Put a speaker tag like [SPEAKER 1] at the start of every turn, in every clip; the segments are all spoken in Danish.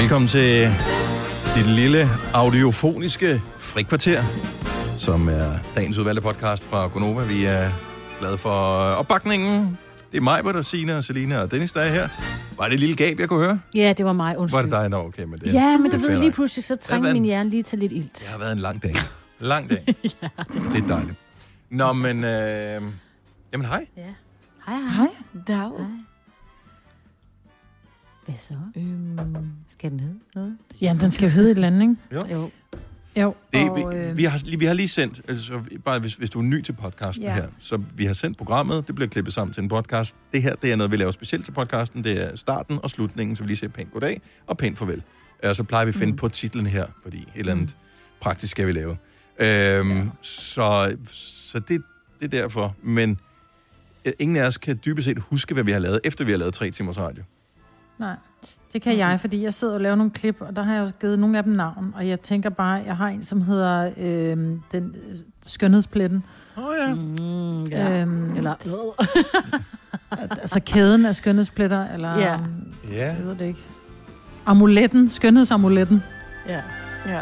[SPEAKER 1] Velkommen til dit lille audiofoniske frikvarter, som er dagens udvalgte podcast fra Gonova. Vi er glade for opbakningen. Det er mig, hvor der Signe og Selina og Dennis, der er her. Var det et lille gab, jeg kunne høre?
[SPEAKER 2] Ja, det var mig, undskyld.
[SPEAKER 1] Var det dig? Nå, okay, men det er
[SPEAKER 2] Ja, men
[SPEAKER 1] det
[SPEAKER 2] du
[SPEAKER 1] er
[SPEAKER 2] ved,
[SPEAKER 1] fair
[SPEAKER 2] lige
[SPEAKER 1] nok.
[SPEAKER 2] pludselig så
[SPEAKER 1] Ja,
[SPEAKER 2] trængte
[SPEAKER 1] hvad-
[SPEAKER 2] min hjerne lige til lidt ilt.
[SPEAKER 1] Det har været en lang dag. Lang dag. ja. Det er dejligt. Nå, men... Øh... Jamen, hej.
[SPEAKER 2] Hej, hej.
[SPEAKER 3] Hej, dag.
[SPEAKER 2] Hvad så?
[SPEAKER 3] Øhm.
[SPEAKER 2] Skal den hedde noget?
[SPEAKER 3] Jamen, den skal jo hedde et eller andet, ikke?
[SPEAKER 2] Jo.
[SPEAKER 3] Jo.
[SPEAKER 1] Det,
[SPEAKER 3] og,
[SPEAKER 1] vi,
[SPEAKER 3] øh,
[SPEAKER 1] vi, har, lige- vi har lige sendt, altså, bare hvis, hvis du er ny til podcasten ja.
[SPEAKER 3] Ja.
[SPEAKER 1] her, så vi har sendt programmet, det bliver klippet sammen til en podcast. Det her, det er noget, vi laver specielt til podcasten. Det er starten og slutningen, så vi lige siger pænt goddag og pænt farvel. Og så plejer vi at finde mm. på titlen her, fordi et eller andet praktisk skal vi lave. Øhm, ja. Så, så det, det er derfor. Men øh, ingen af os kan dybest set huske, hvad vi har lavet, efter vi har lavet tre timers radio.
[SPEAKER 3] Nej, det kan jeg, fordi jeg sidder og laver nogle klip, og der har jeg jo givet nogle af dem navn, og jeg tænker bare, jeg har en, som hedder øhm, den øh, skønhedspletten.
[SPEAKER 1] Åh oh, ja. Mm.
[SPEAKER 2] Mm, ja.
[SPEAKER 3] Øhm,
[SPEAKER 2] Eller...
[SPEAKER 3] altså kæden af skønhedspletter, eller...
[SPEAKER 2] Ja.
[SPEAKER 3] øhm,
[SPEAKER 1] Ja.
[SPEAKER 3] Jeg ved det ikke. Amuletten, skønhedsamuletten.
[SPEAKER 2] Ja.
[SPEAKER 4] Ja.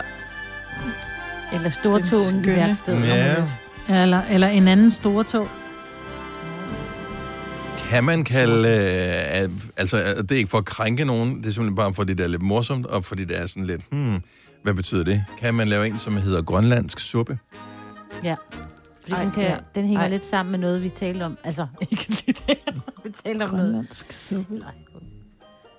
[SPEAKER 2] Eller stortåen i
[SPEAKER 3] skønne.
[SPEAKER 2] værksted.
[SPEAKER 1] Ja.
[SPEAKER 3] Ja, eller, eller en anden stortog.
[SPEAKER 1] Kan man kalde, øh, øh, altså øh, det er ikke for at krænke nogen, det er simpelthen bare fordi det er lidt morsomt, og fordi det er sådan lidt, hmm, hvad betyder det? Kan man lave en, som hedder grønlandsk suppe?
[SPEAKER 2] Fordi den,
[SPEAKER 4] Ej,
[SPEAKER 2] kan,
[SPEAKER 4] ja.
[SPEAKER 2] den hænger
[SPEAKER 4] Ej.
[SPEAKER 2] lidt sammen med noget, vi talte om. Altså, ikke lige det, vi talte om noget.
[SPEAKER 5] Grønlandsk suppe.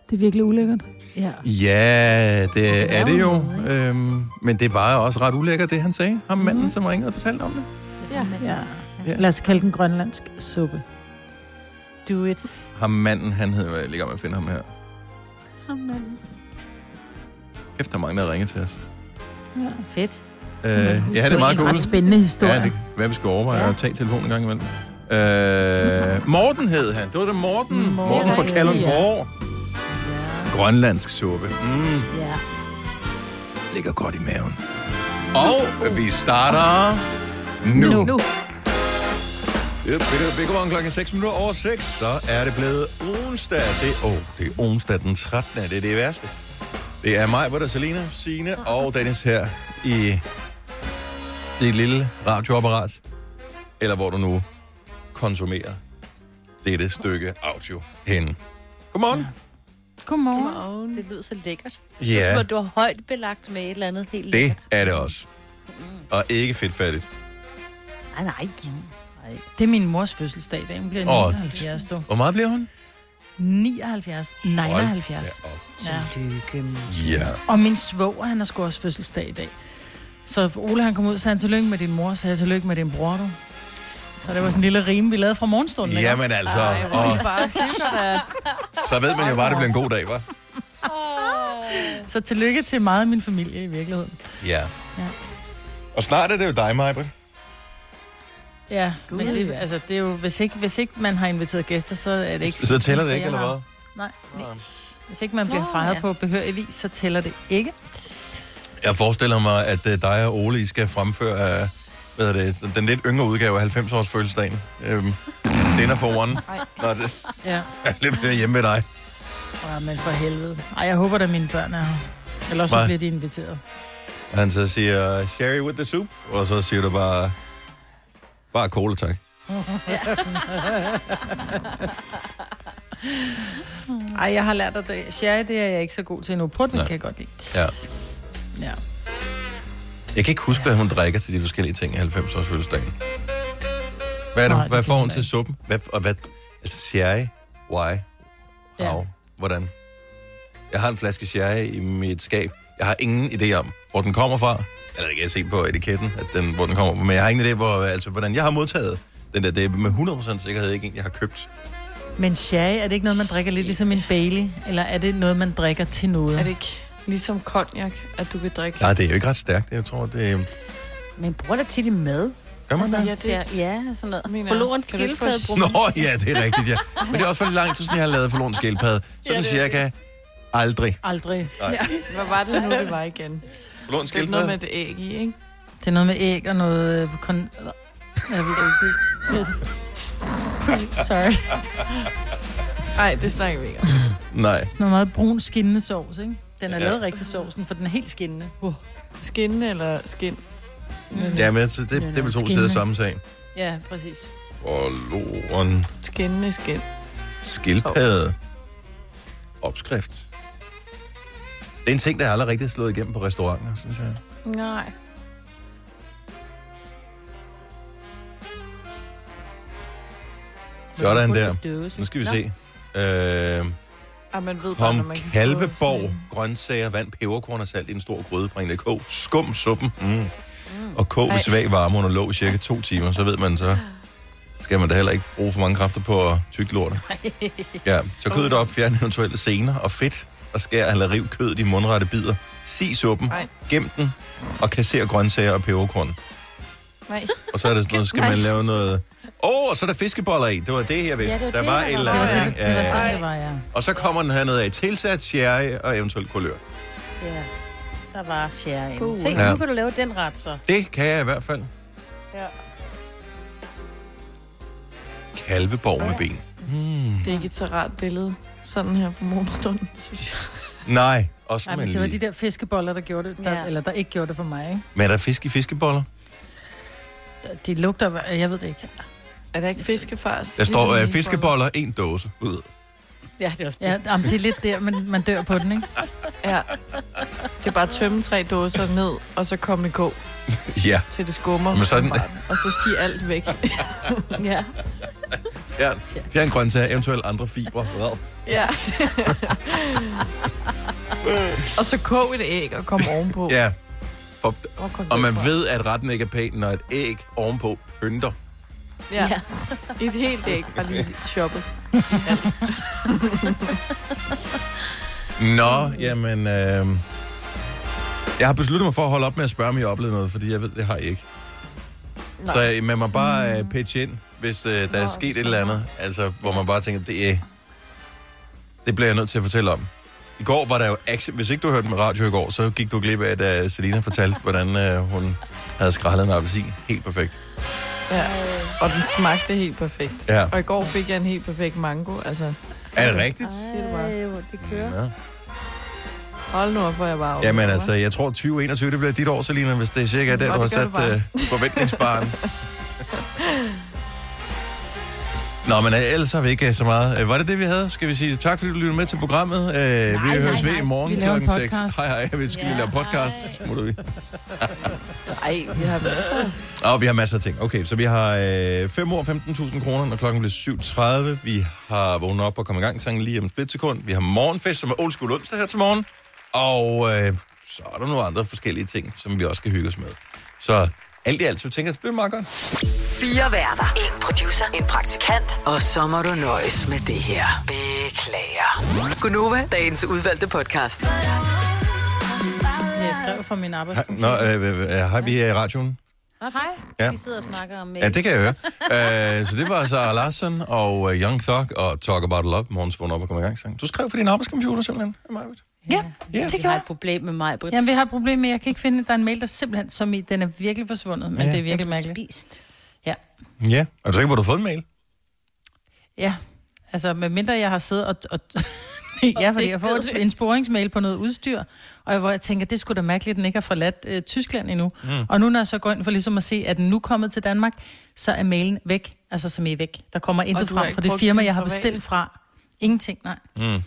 [SPEAKER 5] Det er virkelig ulækkert.
[SPEAKER 2] Ja.
[SPEAKER 1] Ja, det er det jo,
[SPEAKER 2] lave noget,
[SPEAKER 1] øhm, men det var også ret ulækkert, det han sagde, ham manden, som ringede og fortalte om det.
[SPEAKER 2] ja.
[SPEAKER 3] Ja. Lad os kalde den grønlandsk suppe.
[SPEAKER 2] Do it.
[SPEAKER 1] Ham manden, han hedder, jeg ligger med at finde ham her. Kæft, der er mange, der ringer til os.
[SPEAKER 2] Fedt.
[SPEAKER 1] Øh, ja, det er meget
[SPEAKER 3] en
[SPEAKER 1] cool.
[SPEAKER 3] ret spændende historie.
[SPEAKER 1] Ja, det kan være, vi skal overveje ja.
[SPEAKER 2] Ja.
[SPEAKER 1] at tage telefonen en gang imellem. Øh, Morten hed han. Det var det Morten. Morten, Morten fra
[SPEAKER 2] ja,
[SPEAKER 1] Kalundborg. Grønlandsk suppe. Mm,
[SPEAKER 2] Ja.
[SPEAKER 1] ligger godt i maven. Og vi starter nu. nu. nu. Yep, det går klokken 6 minutter over 6, så er det blevet onsdag. Det, oh, det er onsdag den 13. Det er det værste. Det er mig, hvor der er Selina, Signe og Dennis her i det lille radioapparat, eller hvor du nu konsumerer dette stykke audio henne. Godmorgen.
[SPEAKER 3] Godmorgen.
[SPEAKER 4] Godmorgen. Det lyder så lækkert.
[SPEAKER 1] Ja,
[SPEAKER 4] Hvor du er højt belagt med et eller andet helt
[SPEAKER 1] det
[SPEAKER 4] lækkert.
[SPEAKER 1] er det også. Og ikke fedtfattigt.
[SPEAKER 4] Nej, nej. nej.
[SPEAKER 3] Det er min mors fødselsdag i dag. Hun bliver
[SPEAKER 1] Åh,
[SPEAKER 3] 79, du.
[SPEAKER 1] Hvor meget bliver hun?
[SPEAKER 3] 79,
[SPEAKER 1] Hold
[SPEAKER 3] 79.
[SPEAKER 1] da op.
[SPEAKER 3] Ja.
[SPEAKER 4] Tillykke.
[SPEAKER 1] Ja.
[SPEAKER 3] Og min svoger, han har sgu også fødselsdag i dag. Så Ole, han kom ud, så han tillykke med din mor, så jeg tillykke med din bror, du. Så det var sådan en lille rime, vi lavede fra morgenstunden. ikke?
[SPEAKER 1] Jamen altså, og
[SPEAKER 2] øh,
[SPEAKER 1] så ved man jo bare, at det bliver en god dag, hva'?
[SPEAKER 3] Så tillykke til meget af min familie i virkeligheden.
[SPEAKER 1] Ja.
[SPEAKER 3] Ja.
[SPEAKER 1] Og snart er det jo dig, Majbrit.
[SPEAKER 3] Ja, men det, altså, det er jo, hvis ikke, hvis ikke man har inviteret gæster, så er det ikke...
[SPEAKER 1] Så tæller det ikke,
[SPEAKER 3] Jeg
[SPEAKER 1] eller
[SPEAKER 3] har-
[SPEAKER 1] hvad?
[SPEAKER 3] Nej, hvis ikke man bliver
[SPEAKER 4] Nå,
[SPEAKER 3] fejret
[SPEAKER 4] ja.
[SPEAKER 3] på behørig vis, så tæller det ikke.
[SPEAKER 1] Jeg forestiller mig, at øh, dig og Ole, I skal fremføre øh, hvad er det, den lidt yngre udgave af 90-års fødselsdagen. Øhm, dinner for one. Når det,
[SPEAKER 3] Ja.
[SPEAKER 1] det bliver hjemme ved dig.
[SPEAKER 3] ja men for helvede. Ej, jeg håber da mine børn er her. Ellers
[SPEAKER 1] Hvad?
[SPEAKER 3] så bliver de inviteret.
[SPEAKER 1] Og han så siger, Sherry with the soup. Og så siger du bare, bare cola, tak.
[SPEAKER 3] Ej, jeg har lært at det. Sherry, det er jeg ikke så god til endnu. Portvin
[SPEAKER 1] Nej.
[SPEAKER 3] kan jeg godt lide.
[SPEAKER 1] Ja.
[SPEAKER 3] Ja.
[SPEAKER 1] Jeg kan ikke huske, hvad hun drikker til de forskellige ting i 90-års fødselsdagen. Hvad, er det,
[SPEAKER 3] Nej, det
[SPEAKER 1] hvad
[SPEAKER 3] kan
[SPEAKER 1] får hun
[SPEAKER 3] jeg
[SPEAKER 1] til
[SPEAKER 3] ikke.
[SPEAKER 1] suppen? Hvad, og hvad, altså sherry, why,
[SPEAKER 3] Ja.
[SPEAKER 1] how, hvordan? Jeg har en flaske sherry i mit skab. Jeg har ingen idé om, hvor den kommer fra. Eller det kan jeg se på etiketten, at den, hvor den kommer fra. Men jeg har ingen idé, hvor, altså, hvordan jeg har modtaget den der. Det er med 100% sikkerhed ikke en, jeg har købt.
[SPEAKER 3] Men sherry, er det ikke noget, man drikker lidt ligesom en Bailey? Eller er det noget, man drikker til noget?
[SPEAKER 5] Er det ikke ligesom konjak, at du kan drikke?
[SPEAKER 1] Nej, det er jo ikke ret stærkt. Jeg tror, det...
[SPEAKER 2] Men bruger dig tit i mad?
[SPEAKER 1] Gør
[SPEAKER 3] Altså,
[SPEAKER 1] man det?
[SPEAKER 5] Ja, det er...
[SPEAKER 2] Ja, sådan noget.
[SPEAKER 5] Mener jeg,
[SPEAKER 4] Forloren
[SPEAKER 5] skal du ikke få-
[SPEAKER 4] skildpadde bruger
[SPEAKER 1] Nå, ja, det er rigtigt, ja. Men det er også for lang tid, siden jeg har lavet forlån skildpadde. Sådan ja, cirka aldrig.
[SPEAKER 3] Aldrig.
[SPEAKER 5] Hvad var det nu, det var igen?
[SPEAKER 1] Forlån
[SPEAKER 5] Det er noget med
[SPEAKER 1] skildpadde?
[SPEAKER 5] et æg i, ikke?
[SPEAKER 3] Det er noget med æg og noget... øh, Kon... Jeg ved det ikke. Sorry.
[SPEAKER 5] Nej, det snakker vi ikke om.
[SPEAKER 1] Nej.
[SPEAKER 3] Noget meget brun skinnende sovs, ikke? Den er
[SPEAKER 1] Ja.
[SPEAKER 3] lavet rigtig sovsen, for den er helt skinnende. Mm. Uh.
[SPEAKER 5] Skinne eller skin?
[SPEAKER 1] Ja, men det, det, det er vel to sider af samme sag.
[SPEAKER 3] Ja, præcis.
[SPEAKER 1] Og loren,
[SPEAKER 5] Skinnende skin.
[SPEAKER 1] skildpadde, opskrift. Det er en ting, der aldrig rigtig er slået igennem på restauranter, synes jeg.
[SPEAKER 5] Nej.
[SPEAKER 1] Sådan der. Nu skal vi se. Øh,
[SPEAKER 5] Ah, man ved bare, når
[SPEAKER 1] Kom
[SPEAKER 5] man kan få sådan
[SPEAKER 1] kalveborg,
[SPEAKER 5] en-
[SPEAKER 1] grønsager, vand, peberkorn og salt i en stor gryde. Bring det i kog. Skum suppen. Mm. Og kog ved
[SPEAKER 5] Ej.
[SPEAKER 1] svag varme under låg cirka to timer. Så ved man så, skal man da heller ikke bruge for mange kræfter på at tygge lortet. Ja, så kødet op, fjern eventuelle sener og fedt, og skær eller riv kødet i mundrette bidder. Si suppen,
[SPEAKER 5] Ej.
[SPEAKER 1] gem den, og kasser grøntsager og peberkorn.
[SPEAKER 5] Nej.
[SPEAKER 1] Og så er det sådan noget, skal man lave noget... Åh, oh, så er der fiskeboller i. Det var det, jeg vidste.
[SPEAKER 2] Ja, det var
[SPEAKER 1] der
[SPEAKER 2] det,
[SPEAKER 1] var
[SPEAKER 2] der
[SPEAKER 1] et
[SPEAKER 2] var.
[SPEAKER 1] eller
[SPEAKER 2] Det var
[SPEAKER 1] andet,
[SPEAKER 2] det,
[SPEAKER 1] ikke?
[SPEAKER 3] Det var
[SPEAKER 1] Ja.
[SPEAKER 3] sådan, det var, ja.
[SPEAKER 1] Og så kommer den hernede af tilsat sherry og eventuelt kulør.
[SPEAKER 2] Ja.
[SPEAKER 3] Der var sjære
[SPEAKER 4] Uh,
[SPEAKER 3] Se,
[SPEAKER 4] Se,
[SPEAKER 1] Ja. Mm.
[SPEAKER 3] nu kan du lave den ret, så.
[SPEAKER 1] Det kan jeg i hvert fald.
[SPEAKER 4] Ja.
[SPEAKER 1] Kalveborg med ben. Hmm.
[SPEAKER 5] Det er ikke et så rart billede, sådan her på morgenstunden, synes jeg.
[SPEAKER 1] Nej, også
[SPEAKER 3] Ej,
[SPEAKER 1] med
[SPEAKER 3] men det var de
[SPEAKER 1] lige.
[SPEAKER 3] der fiskeboller, der gjorde det, der,
[SPEAKER 4] Ja.
[SPEAKER 3] ja. eller der ikke gjorde det for mig, ikke?
[SPEAKER 1] Men er der fisk i fiskeboller?
[SPEAKER 3] De lugter, jeg ved det ikke.
[SPEAKER 5] Er der ikke fiskefars?
[SPEAKER 1] Der står
[SPEAKER 2] Ligesom-
[SPEAKER 1] øh, fiskeboller, en dåse. Ud.
[SPEAKER 4] ja, det er også det.
[SPEAKER 3] Ja, jamen, det er lidt der, men man dør på den, ikke?
[SPEAKER 5] Ja. Det er bare at tømme tre dåser ned, og så komme i gå
[SPEAKER 1] Ja,
[SPEAKER 5] til det skummer.
[SPEAKER 1] Men sådan-
[SPEAKER 5] Og så sige alt væk. ja.
[SPEAKER 1] fjern, fjern grøntsager, eventuelt andre fibre. Wow.
[SPEAKER 5] Ja. og så kog et æg og kom ovenpå.
[SPEAKER 1] Ja, og,
[SPEAKER 5] Hvor kom
[SPEAKER 1] og
[SPEAKER 5] det
[SPEAKER 1] man
[SPEAKER 5] fra?
[SPEAKER 1] ved, at retten ikke er pæn, når et æg ovenpå pynter.
[SPEAKER 5] Ja. ja. Et helt æg, bare lige choppet.
[SPEAKER 1] Nå, jamen... Øh, jeg har besluttet mig for at holde op med at spørge, om I har oplevet noget, fordi jeg ved, det har I ikke. Nej. Så øh, man må bare
[SPEAKER 5] Mm.
[SPEAKER 1] øh, pitche ind, hvis øh, der er sket et eller andet, altså, hvor man bare tænker, det, øh, det bliver jeg nødt til at fortælle om. I går var der jo action. Hvis ikke du hørte med radio i går, så gik du glip af, at uh, Selina fortalte, hvordan uh, hun havde skrællet en appelsin. Helt perfekt.
[SPEAKER 5] Ja. Og den smagte helt perfekt.
[SPEAKER 1] Ja.
[SPEAKER 5] Og i går fik jeg en helt perfekt mango. Altså,
[SPEAKER 1] Er det rigtigt?
[SPEAKER 5] siger du bare.
[SPEAKER 2] det kører.
[SPEAKER 1] Ja.
[SPEAKER 5] Hold nu op, hvor jeg bare over.
[SPEAKER 1] Jamen altså, jeg tror 2021, det bliver dit år, Selina, hvis det er cirka der,
[SPEAKER 5] Nå,
[SPEAKER 1] du har
[SPEAKER 5] det gør
[SPEAKER 1] sat
[SPEAKER 5] det bare.
[SPEAKER 1] uh, forventningsbaren. Nå, men øh, ellers har vi ikke øh, så meget. Øh, Var det det, vi havde? Skal vi sige tak, fordi du lyttede med til programmet. Øh, vi høres ved i morgen
[SPEAKER 3] Vi laver en
[SPEAKER 1] klokken 6.
[SPEAKER 3] podcast.
[SPEAKER 1] Hej, hej. Vi skal
[SPEAKER 4] Ja,
[SPEAKER 1] ja, lave podcast. Smutter vi.
[SPEAKER 5] Ej, vi har masser.
[SPEAKER 1] Og vi har masser af ting. Okay, så vi har øh, 5 år 15.000 kroner, når klokken bliver 7.30. Vi har vågnet op og kommet i gang sangen lige om et splitsekund. Vi har morgenfest, som er old school onsdag her til morgen. Og øh, så er der nogle andre forskellige ting, som vi også skal hygge os med. Så alt i alt, så tænker jeg, at det bliver meget godt.
[SPEAKER 6] Fire værter. En producer. En praktikant. Og så må du nøjes med det her. Beklager. Gunova, dagens udvalgte podcast.
[SPEAKER 3] Jeg skrev fra min arbejde.
[SPEAKER 1] Nå, øh, øh, øh, har vi øh, radioen?
[SPEAKER 2] Hej.
[SPEAKER 1] Ja.
[SPEAKER 2] Vi sidder og snakker om
[SPEAKER 1] Ja,
[SPEAKER 2] mail.
[SPEAKER 1] det kan jeg høre. Øh, så det var så Larsen og øh, Young Thug og Talk About Love. Morgens vågnet op og kommet i gang sang. Du skrev for din arbejdscomputer simpelthen, Marvitt.
[SPEAKER 3] Ja,
[SPEAKER 1] Ja.
[SPEAKER 2] Vi har et problem med mig,
[SPEAKER 1] Øh,
[SPEAKER 2] Britt.
[SPEAKER 3] Jamen, vi har et problem med, at jeg kan ikke finde, at der er en mail, der simpelthen, som i, den er virkelig forsvundet, men
[SPEAKER 1] Ja.
[SPEAKER 3] ja, det er virkelig mærkeligt.
[SPEAKER 2] spist.
[SPEAKER 3] Ja.
[SPEAKER 1] Ja. Er du sikker på, at du har fået en mail?
[SPEAKER 3] ja, altså, medmindre jeg har siddet og... og ja, fordi jeg får et- en sporingsmail på noget udstyr, og jeg, hvor jeg tænker, det skulle da mærkeligt, at den ikke har forladt øh, Tyskland endnu. Mm. Og nu, når jeg så går ind for ligesom at se, at den nu er kommet til Danmark, så er mailen væk, altså som I er væk. Der kommer intet
[SPEAKER 5] du har
[SPEAKER 3] frem
[SPEAKER 5] ikke
[SPEAKER 3] fra det
[SPEAKER 5] brugt
[SPEAKER 3] firma,
[SPEAKER 5] din
[SPEAKER 3] jeg har
[SPEAKER 5] private?
[SPEAKER 3] bestilt fra. Ingenting, nej. Mm.
[SPEAKER 1] Hmm.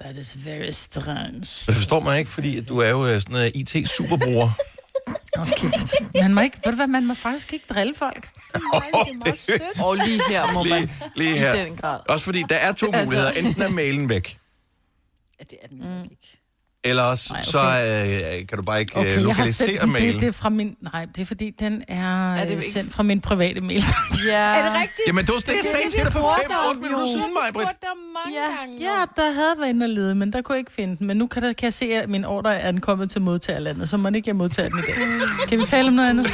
[SPEAKER 3] That is very strange.
[SPEAKER 1] Det forstår man ikke, fordi at du er jo øh, sådan en IT-superbruger.
[SPEAKER 3] Okay. Man må ikke, ved du hvad, man må faktisk ikke drille folk.
[SPEAKER 5] Og lige her må man...
[SPEAKER 1] lige, lige
[SPEAKER 5] I
[SPEAKER 1] her.
[SPEAKER 5] den grad.
[SPEAKER 1] Også fordi der er to muligheder. Enten er mailen væk,
[SPEAKER 4] Ja, det er den nok ikke.
[SPEAKER 1] eller også,
[SPEAKER 3] Nej, okay.
[SPEAKER 1] så øh, kan du bare ikke okay,
[SPEAKER 3] Okay, jeg har
[SPEAKER 1] lokalisere
[SPEAKER 3] sendt den, det,
[SPEAKER 1] mailen.
[SPEAKER 3] det er fra min, nej, det er fordi, den er,
[SPEAKER 5] Er
[SPEAKER 3] er
[SPEAKER 5] det
[SPEAKER 3] det
[SPEAKER 5] ikke-
[SPEAKER 3] sendt fra min private mail.
[SPEAKER 5] Ja. Er det
[SPEAKER 4] rigtigt?
[SPEAKER 1] Jamen, det var det, jeg sagde til dig for
[SPEAKER 5] spurgte
[SPEAKER 1] 5
[SPEAKER 5] om,
[SPEAKER 1] 8 minutter
[SPEAKER 5] jo.
[SPEAKER 1] siden, mig, Britt.
[SPEAKER 4] der mange
[SPEAKER 5] Ja.
[SPEAKER 4] gange.
[SPEAKER 3] ja, der havde været inde og lede, men der kunne jeg ikke finde den. Men nu kan, der, kan jeg se, at min ordre er ankommet til modtagerlandet, så må ikke jeg modtager den i dag. kan vi tale om noget andet?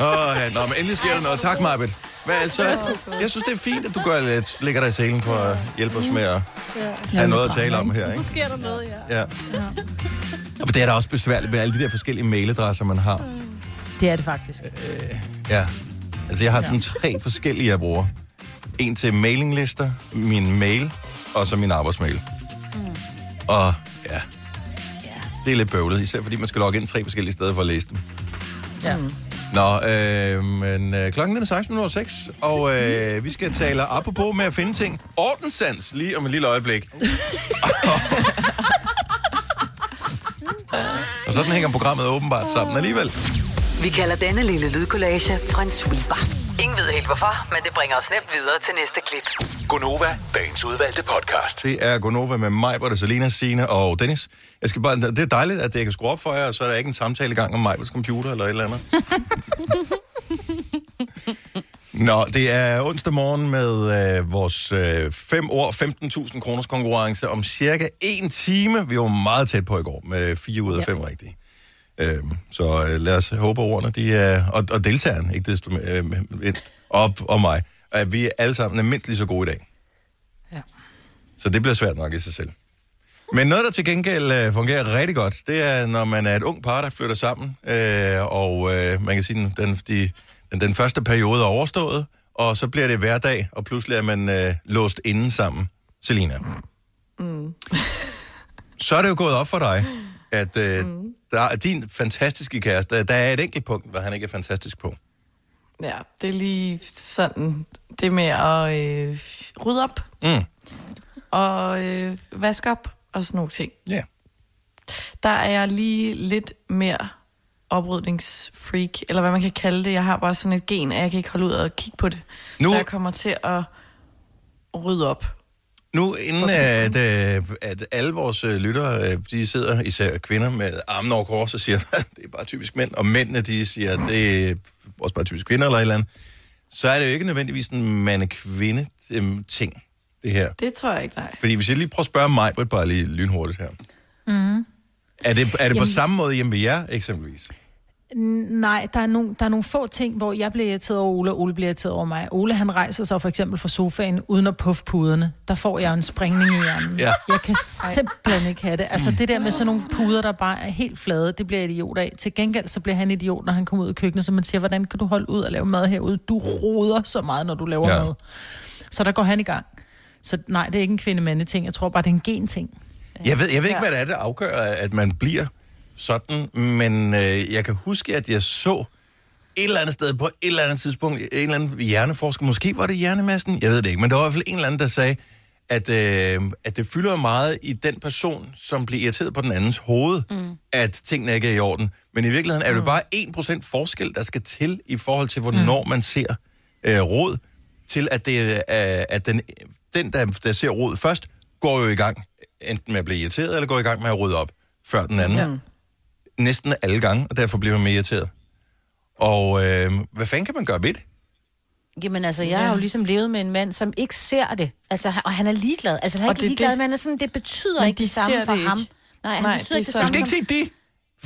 [SPEAKER 1] Åh, ja, nå, men endelig sker der noget. Tak, Marbet. Hvad altså? Jeg synes, det er fint, at du gør lidt, lægger dig i selen for at hjælpe os med at have noget at tale om her, ikke?
[SPEAKER 4] Så sker der noget, ja.
[SPEAKER 1] Ja. Og det er da også besværligt med alle de der forskellige mailadresser, man har.
[SPEAKER 3] Det er det faktisk.
[SPEAKER 1] Ja. Altså, jeg har sådan tre forskellige, jeg bruger. En til mailinglister, min mail, og så min arbejdsmail. Og Mm. Ja. Det er lidt bøvlet, især fordi man skal logge ind tre forskellige steder for at læse dem.
[SPEAKER 3] Ja.
[SPEAKER 5] Mm.
[SPEAKER 1] Nå, øh, men øh, klokken den er 16.06, og øh, vi skal tale apropos med at finde ting. Ordensans lige om et lille øjeblik. og sådan hænger programmet åbenbart sammen alligevel.
[SPEAKER 6] Vi kalder denne lille lydkollage en sweeper. Ingen ved helt hvorfor, men det bringer os nemt videre til næste klip.
[SPEAKER 7] Gunova, dagens udvalgte podcast.
[SPEAKER 1] Det er Gonova med mig, Britta, Selina, Signe og Dennis. Jeg skal bare, det er dejligt, at jeg kan skrue op for jer, og så er der ikke en samtale i gang om Majbels computer eller et eller andet. Nå, det er onsdag morgen med øh, vores 5 øh, år, 15.000 kroners konkurrence om cirka en time. Vi var meget tæt på i går med fire ud af fem rigtige. Øhm, så øh, lad os håbe at ordene, de er, og, og deltageren, ikke desto øh, mindst, op og mig, at vi alle sammen er mindst lige så gode i dag. Så det bliver svært nok i sig selv. Men noget, der til gengæld øh, fungerer rigtig godt, det er, når man er et ung par, der flytter sammen, øh, og øh, man kan sige, den, den, de, den, den første periode er overstået, og så bliver det hverdag, og pludselig er man øh, låst inden sammen. Selina,
[SPEAKER 5] Mm.
[SPEAKER 1] så er det jo gået op for dig, at øh, mm. der er din fantastiske kæreste, der er et enkelt punkt, hvor han ikke er fantastisk på.
[SPEAKER 5] Ja, det er lige sådan, det med at øh, rydde op
[SPEAKER 1] Mm.
[SPEAKER 5] og øh, vaske op og sådan nogle ting.
[SPEAKER 1] Ja.
[SPEAKER 5] Der er jeg lige lidt mere oprydningsfreak, eller hvad man kan kalde det. Jeg har bare sådan et gen, at jeg kan ikke holde ud og kigge på det.
[SPEAKER 1] Nu-
[SPEAKER 5] Så jeg kommer til at rydde op.
[SPEAKER 1] Nu, inden at, øh, at alle vores øh, lyttere, øh, de sidder, især kvinder, med armen over kors og siger, det er bare typisk mænd, og mændene, de siger, det er også bare typisk kvinder eller et eller andet, så er det jo ikke nødvendigvis en mand-kvinde-ting, det her.
[SPEAKER 5] Det tror jeg ikke, nej.
[SPEAKER 1] Fordi hvis jeg lige prøver at spørge mig, bare lige lynhurtigt her.
[SPEAKER 3] Mm-hmm.
[SPEAKER 8] Mm.
[SPEAKER 1] Er det, er det på
[SPEAKER 3] Jamen-
[SPEAKER 1] samme måde hjemme ved jer, eksempelvis?
[SPEAKER 3] N- Nej, der er, nogle, der er nogle få ting, hvor jeg bliver irriteret over Ole, og Ole bliver irriteret over mig. Ole, han rejser sig for eksempel fra sofaen uden at puffe puderne. Der får jeg jo en springning i hjernen.
[SPEAKER 1] Ja.
[SPEAKER 3] Jeg kan simpelthen ikke have det. Altså det der med sådan nogle puder, der bare er helt flade, det bliver jeg idiot af. Til gengæld så bliver han idiot, når han kommer ud i køkkenet, så man siger, hvordan kan du holde ud og lave mad herude? Du roder så meget, når du laver
[SPEAKER 1] Ja.
[SPEAKER 3] ja. mad. Så der går han i gang. Så nej, det er ikke en kvindemande-ting. Jeg tror bare, det er en gen-ting.
[SPEAKER 1] Jeg ved, jeg ved ikke, hvad det er, der afgør, at man bliver sådan, men øh, jeg kan huske, at jeg så et eller andet sted på et eller andet tidspunkt, en eller anden hjerneforsker, måske var det hjernemassen, jeg ved det ikke, men der var i hvert fald en eller anden, der sagde, at, øh, at det fylder meget i den person, som bliver irriteret på den andens hoved, mm. at tingene ikke er i orden. Men i virkeligheden er det bare 1% forskel, der skal til i forhold til, hvornår mm. man ser øh, råd, til at, det, øh, at den, den der, der ser råd først, går jo i gang enten med at blive irriteret, eller går i gang med at rydde op før den anden. Ja. Næsten alle gange, og derfor bliver man mere irriteret. Og øh, hvad fanden kan man gøre ved det?
[SPEAKER 2] Jamen altså, jeg har jo ligesom levet med en mand, som ikke ser det. Altså, han- og han er ligeglad. Altså, han er
[SPEAKER 5] Og
[SPEAKER 2] ikke
[SPEAKER 5] det er
[SPEAKER 2] ligeglad,
[SPEAKER 5] det.
[SPEAKER 2] men han er sådan, det betyder
[SPEAKER 5] Men
[SPEAKER 2] ikke
[SPEAKER 5] de
[SPEAKER 2] det samme
[SPEAKER 5] ser
[SPEAKER 2] for
[SPEAKER 5] det
[SPEAKER 2] ham.
[SPEAKER 5] ikke.
[SPEAKER 2] Nej, han
[SPEAKER 5] Nej,
[SPEAKER 2] betyder
[SPEAKER 5] det
[SPEAKER 2] ikke det
[SPEAKER 5] er
[SPEAKER 1] Du
[SPEAKER 2] samme
[SPEAKER 1] skal ikke
[SPEAKER 2] for
[SPEAKER 1] sige det.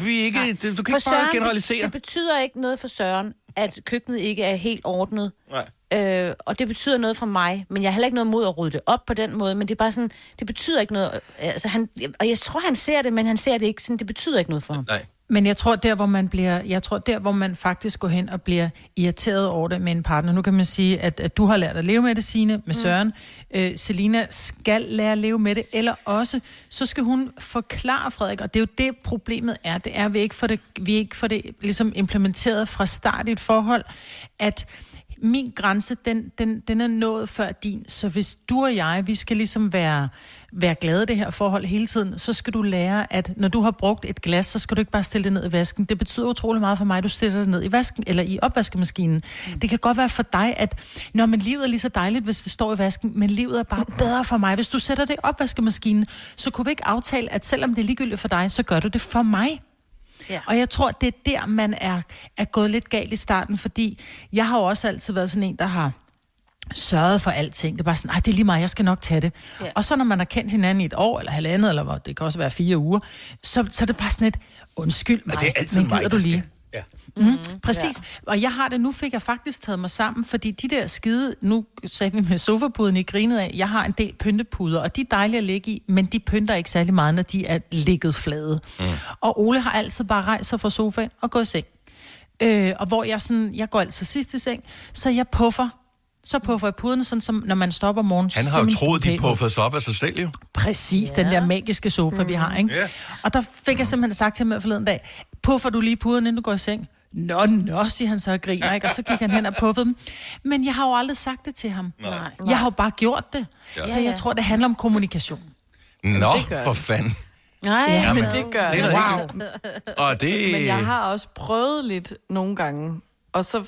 [SPEAKER 1] Vi er ikke, du, du kan
[SPEAKER 2] For
[SPEAKER 1] ikke bare
[SPEAKER 2] Søren,
[SPEAKER 1] generalisere.
[SPEAKER 2] Det betyder ikke noget for Søren, at køkkenet ikke er helt ordnet.
[SPEAKER 1] Nej.
[SPEAKER 2] Øh, og det betyder noget for mig, men jeg har heller ikke noget mod at rydde det op på den måde, men det er bare sådan, det betyder ikke noget. Altså, han, og jeg tror, han ser det, men han ser det ikke sådan, det betyder ikke noget for ham.
[SPEAKER 1] Nej.
[SPEAKER 3] Men jeg tror, der, hvor man bliver, jeg tror, der, hvor man faktisk går hen og bliver irriteret over det med en partner. Nu kan man sige, at, at du har lært at leve med det, Signe, med Søren. Øh, Selina skal lære at leve med det, eller også, så skal hun forklare Frederik, og det er jo det, problemet er. Det er, at vi ikke får det, vi ikke får det ligesom implementeret fra start i et forhold, at min grænse, den, den, den er nået før din, så hvis du og jeg, vi skal ligesom være, være glade i det her forhold hele tiden, så skal du lære, at når du har brugt et glas, så skal du ikke bare stille det ned i vasken. Det betyder utrolig meget for mig, at du stiller det ned i vasken, eller i opvaskemaskinen. Mm. Det kan godt være for dig, at når man livet er lige så dejligt, hvis det står i vasken, men livet er bare bedre for mig. Hvis du sætter det i opvaskemaskinen, så kunne vi ikke aftale, at selvom det er ligegyldigt for dig, så gør du det for mig.
[SPEAKER 2] Ja.
[SPEAKER 3] Og jeg tror, det er der, man er, er gået lidt galt i starten, fordi jeg har jo også altid været sådan en, der har sørget for alting. Det er bare sådan, nej, det er lige mig, jeg skal nok tage det. Ja. Og så når man har kendt hinanden i et år, eller halvandet, eller hvor- det kan også være fire uger, så, så er det bare sådan et, undskyld mig,
[SPEAKER 1] det er altid
[SPEAKER 3] men
[SPEAKER 1] mig,
[SPEAKER 3] gider
[SPEAKER 1] der
[SPEAKER 3] du
[SPEAKER 1] skal."
[SPEAKER 3] lige? Mm, mm, præcis. Ja. Og jeg har det, nu fik jeg faktisk taget mig sammen, fordi de der skide, nu sagde vi med sofapuden i grinet af, jeg har en del pyntepuder, og de er dejlige at ligge i, men de pynter ikke særlig meget, når de er ligget flade. Mm. Og Ole har altid bare rejst sig fra sofaen og gået i seng. Øh, og hvor jeg sådan, jeg går altid sidst i seng, så jeg puffer Så puffer jeg puden, sådan som når man stopper om morgenen. så
[SPEAKER 1] Han har
[SPEAKER 3] ser
[SPEAKER 1] jo
[SPEAKER 3] min
[SPEAKER 1] troet, de
[SPEAKER 3] spontan ud.
[SPEAKER 1] puffede sig op af sig selv, jo.
[SPEAKER 3] Præcis, ja. den der magiske sofa, mm. vi har, ikke?
[SPEAKER 1] Ja.
[SPEAKER 3] Og der fik jeg simpelthen sagt til ham her forleden dag, puffer du lige puden, inden du går i seng? Nå, nå, siger han så og griner, ikke? Og så gik han hen og puffede dem. Men jeg har jo aldrig sagt det til ham.
[SPEAKER 1] Nej.
[SPEAKER 3] Jeg har jo bare gjort det.
[SPEAKER 1] Ja.
[SPEAKER 3] Ja. Så
[SPEAKER 2] Ja, ja.
[SPEAKER 3] jeg tror, det handler om kommunikation.
[SPEAKER 1] Nå,
[SPEAKER 5] det gør
[SPEAKER 1] for
[SPEAKER 5] det.
[SPEAKER 1] fanden.
[SPEAKER 2] Nej.
[SPEAKER 5] Ja,
[SPEAKER 2] Ja.
[SPEAKER 5] men det gør
[SPEAKER 1] Det
[SPEAKER 5] det.
[SPEAKER 1] er da
[SPEAKER 5] Wow.
[SPEAKER 1] Og det...
[SPEAKER 5] Men jeg har også prøvet lidt nogle gange, og så,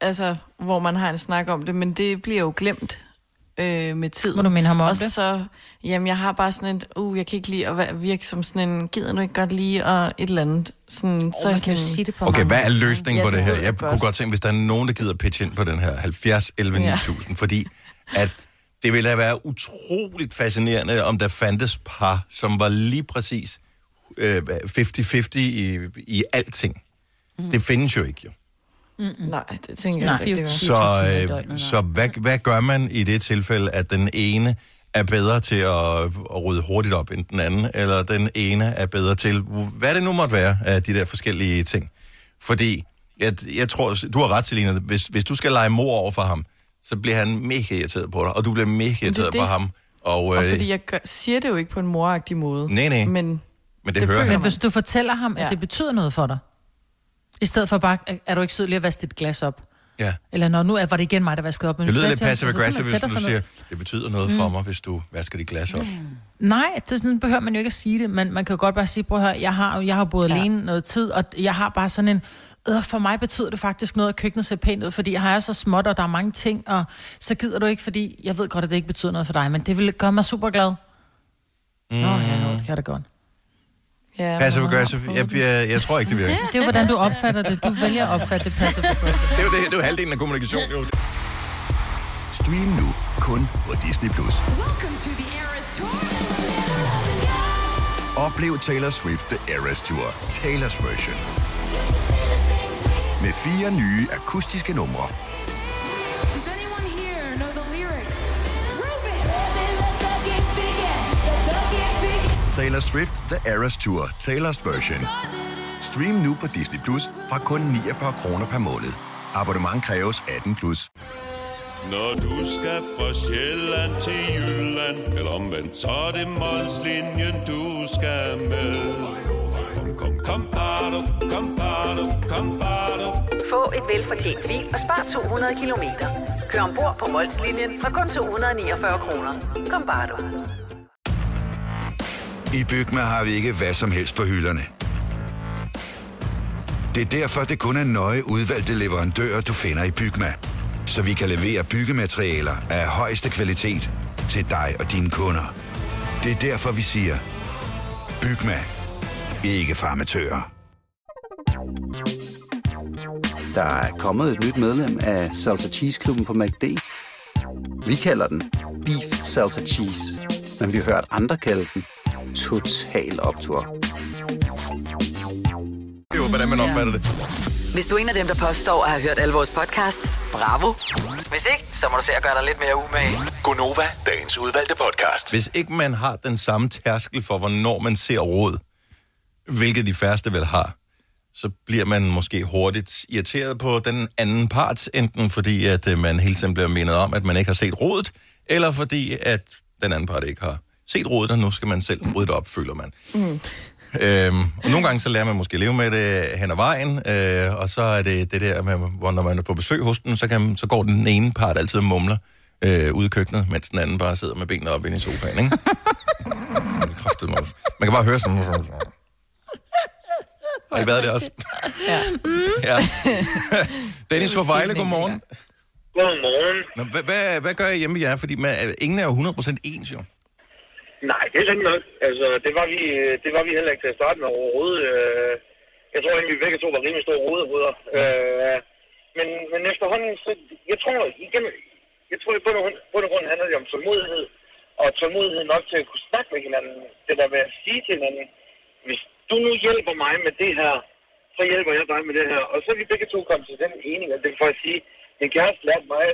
[SPEAKER 5] altså, hvor man har en snak om det, men det bliver jo glemt øh, med tiden.
[SPEAKER 3] Må du minde ham om
[SPEAKER 5] og
[SPEAKER 3] det?
[SPEAKER 5] så, jamen, jeg har bare sådan et, uh, jeg kan ikke lide at være- virke som sådan en, gider du ikke godt lige, og et eller andet. Sådan, oh, så
[SPEAKER 2] Man
[SPEAKER 5] er
[SPEAKER 2] kan
[SPEAKER 5] sådan,
[SPEAKER 2] jo sige det på
[SPEAKER 1] Okay,
[SPEAKER 2] mange
[SPEAKER 1] hvad er løsningen
[SPEAKER 5] Ja,
[SPEAKER 1] på
[SPEAKER 5] det
[SPEAKER 1] det her?
[SPEAKER 5] ved jeg
[SPEAKER 1] Jeg
[SPEAKER 5] godt.
[SPEAKER 1] kunne godt tænke, hvis der er nogen, der gider pitche ind på den her 70 11
[SPEAKER 5] Ja.
[SPEAKER 1] 9000, fordi at det ville da være utroligt fascinerende, om der fandtes par, som var lige præcis øh, 50-50 i, i alting. Mm. Det findes jo ikke, jo.
[SPEAKER 5] Nej, det tænker
[SPEAKER 3] Nej.
[SPEAKER 5] jeg ikke, det gør.
[SPEAKER 1] Så,
[SPEAKER 2] timer i
[SPEAKER 1] øh,
[SPEAKER 2] døgnet,
[SPEAKER 1] så hvad, hvad gør man i det tilfælde, at den ene er bedre til at, at rydde hurtigt op end den anden, eller den ene er bedre til, hvad det nu måtte være af de der forskellige ting? Fordi, jeg, jeg tror, du har ret til, Lina, hvis, hvis du skal lege mor over for ham, så bliver han mega irriteret på dig, og du bliver mega irriteret på
[SPEAKER 5] det.
[SPEAKER 1] ham. Og, øh,
[SPEAKER 5] Og fordi jeg gør, siger det jo ikke på en moragtig måde.
[SPEAKER 1] Nej, nej.
[SPEAKER 5] Men
[SPEAKER 1] men
[SPEAKER 5] det
[SPEAKER 1] det, det hører
[SPEAKER 5] føler
[SPEAKER 1] han.
[SPEAKER 3] Men hvis du fortæller ham, at
[SPEAKER 5] Ja.
[SPEAKER 3] det betyder noget for dig, i stedet for bare, er du ikke sød lige at vaske dit glas op?
[SPEAKER 1] Ja.
[SPEAKER 3] Eller når nu er, var det igen mig, der vaskede op. Men
[SPEAKER 1] Det
[SPEAKER 3] så
[SPEAKER 1] lyder
[SPEAKER 3] sagde
[SPEAKER 1] lidt
[SPEAKER 3] jeg til ham, altså,
[SPEAKER 1] passive-aggressive,
[SPEAKER 3] så
[SPEAKER 1] hvis
[SPEAKER 3] sætter
[SPEAKER 1] du
[SPEAKER 3] sig ned.
[SPEAKER 1] siger, det betyder noget for mig, hvis du vasker dit glas op.
[SPEAKER 3] Nej, det er sådan behøver man jo ikke at sige det, men man kan jo godt bare sige, prøv at høre, jeg har, jeg har boet ja. alene noget tid, og jeg har bare sådan en, øh, for mig betyder det faktisk noget, at køkkenet ser pænt ud, fordi jeg er så småt, og der er mange ting, og så gider du ikke, fordi jeg ved godt, at det ikke betyder noget for dig, men det ville gøre mig super glad. Mm. Nå, ja, nå, det kan jeg da godt.
[SPEAKER 5] ja,
[SPEAKER 1] Passive-aggressive, jeg, jeg, jeg tror ikke, det virker.
[SPEAKER 3] Det er jo, hvordan du opfatter det. Du vælger at opfatte det passive
[SPEAKER 1] Det er jo det, det er jo halvdelen af kommunikation, jo.
[SPEAKER 7] Stream nu kun på Disney+. Plus. Oplev Taylor Swift The Eras Tour, Taylor's version. Med fire nye akustiske numre. Taylor Swift The Eras Tour, Taylor's version. Stream nu på Disney Plus fra kun 49 kroner per måned. Abonnement kræves 18 plus.
[SPEAKER 8] Når du skal fra Sjælland til Jylland Eller omvendt, så er det Molslinjen, du skal med Kom, kom, kom, bado, kom, bado, kom, bado.
[SPEAKER 6] Få et velfortjent bil og spar 200 kilometer. Kør ombord på Molslinjen fra kun 249 kroner. Kom bare du.
[SPEAKER 8] I Bygma har vi ikke hvad som helst på hylderne. Det er derfor, det kun er nøje udvalgte leverandører, du finder i Bygma. Så vi kan levere byggematerialer af højeste kvalitet til dig og dine kunder. Det er derfor, vi siger, Bygma. Ikke farmatører.
[SPEAKER 9] Der er kommet et nyt medlem af Salsa Cheese Klubben på MACD. Vi kalder den Beef Salsa Cheese. Men vi har hørt andre kalde den Total Optor.
[SPEAKER 1] Det er jo, hvordan man opfatter det.
[SPEAKER 6] Hvis du er en af dem, der påstår at have hørt alle vores podcasts, bravo. Hvis ikke, så må du se at gøre dig lidt mere umage.
[SPEAKER 7] Gonova, dagens udvalgte podcast.
[SPEAKER 1] Hvis ikke man har den samme tærskel for, hvornår man ser råd, hvilket de færreste vel har, så bliver man måske hurtigt irriteret på den anden part, enten fordi, at øh, man hele tiden bliver mindet om, at man ikke har set rådet, eller fordi, at den anden part ikke har set rådet, og nu skal man selv rydde det op, føler man. Mm. Øhm, og nogle gange så lærer man måske at leve med det hen ad vejen, øh, og så er det det der med, hvor når man er på besøg hos dem, så, kan, man- så går den ene part altid og mumler øh, ude i køkkenet, mens den anden bare sidder med benene op inde i sofaen, ikke? Det er kraftedeme også. Man kan bare høre sådan... Har I været det også?
[SPEAKER 10] Mm.
[SPEAKER 1] Ja. ja. Dennis fra Vejle, godmorgen.
[SPEAKER 11] Godmorgen.
[SPEAKER 1] Nå, hvad, hvad, hvad gør I hjemme ved jer? Fordi man, ingen er jo 100% ens, jo.
[SPEAKER 11] Nej, det er rigtigt nok. Altså, det var vi, øh, det var vi heller ikke til at starte med overhovedet. Øh, Jeg tror egentlig, vi begge to var rimelig store rodehoveder. Øh, Men, men efterhånden, så jeg tror, igen, jeg tror i bund og grund- bund og grund handler det om tålmodighed. Og tålmodighed nok til at kunne snakke med hinanden. Det der med at sige til hinanden, hvis du nu hjælper mig med det her, så hjælper jeg dig med det her. Og så er vi begge to kommet til den enige, og det vil faktisk sige, min kæreste lærte mig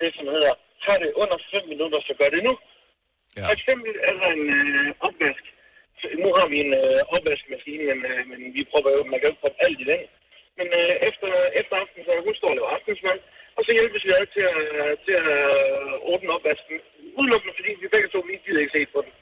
[SPEAKER 11] det, som hedder, tag det under 5 minutter, så gør det nu.
[SPEAKER 1] Ja.
[SPEAKER 11] For eksempel er der en øh, opvask. Så Nu har vi en øh, opvaskemaskine, men, øh, men vi prøver jo, man kan jo ikke proppe alt i den. Men øh, efter, efter aftenen, så hun står og laver aftensmad, Og så hjælpes vi ad til at, til at ordne opvasken. Udelukkende fordi vi begge to, vi gider ikke se på den.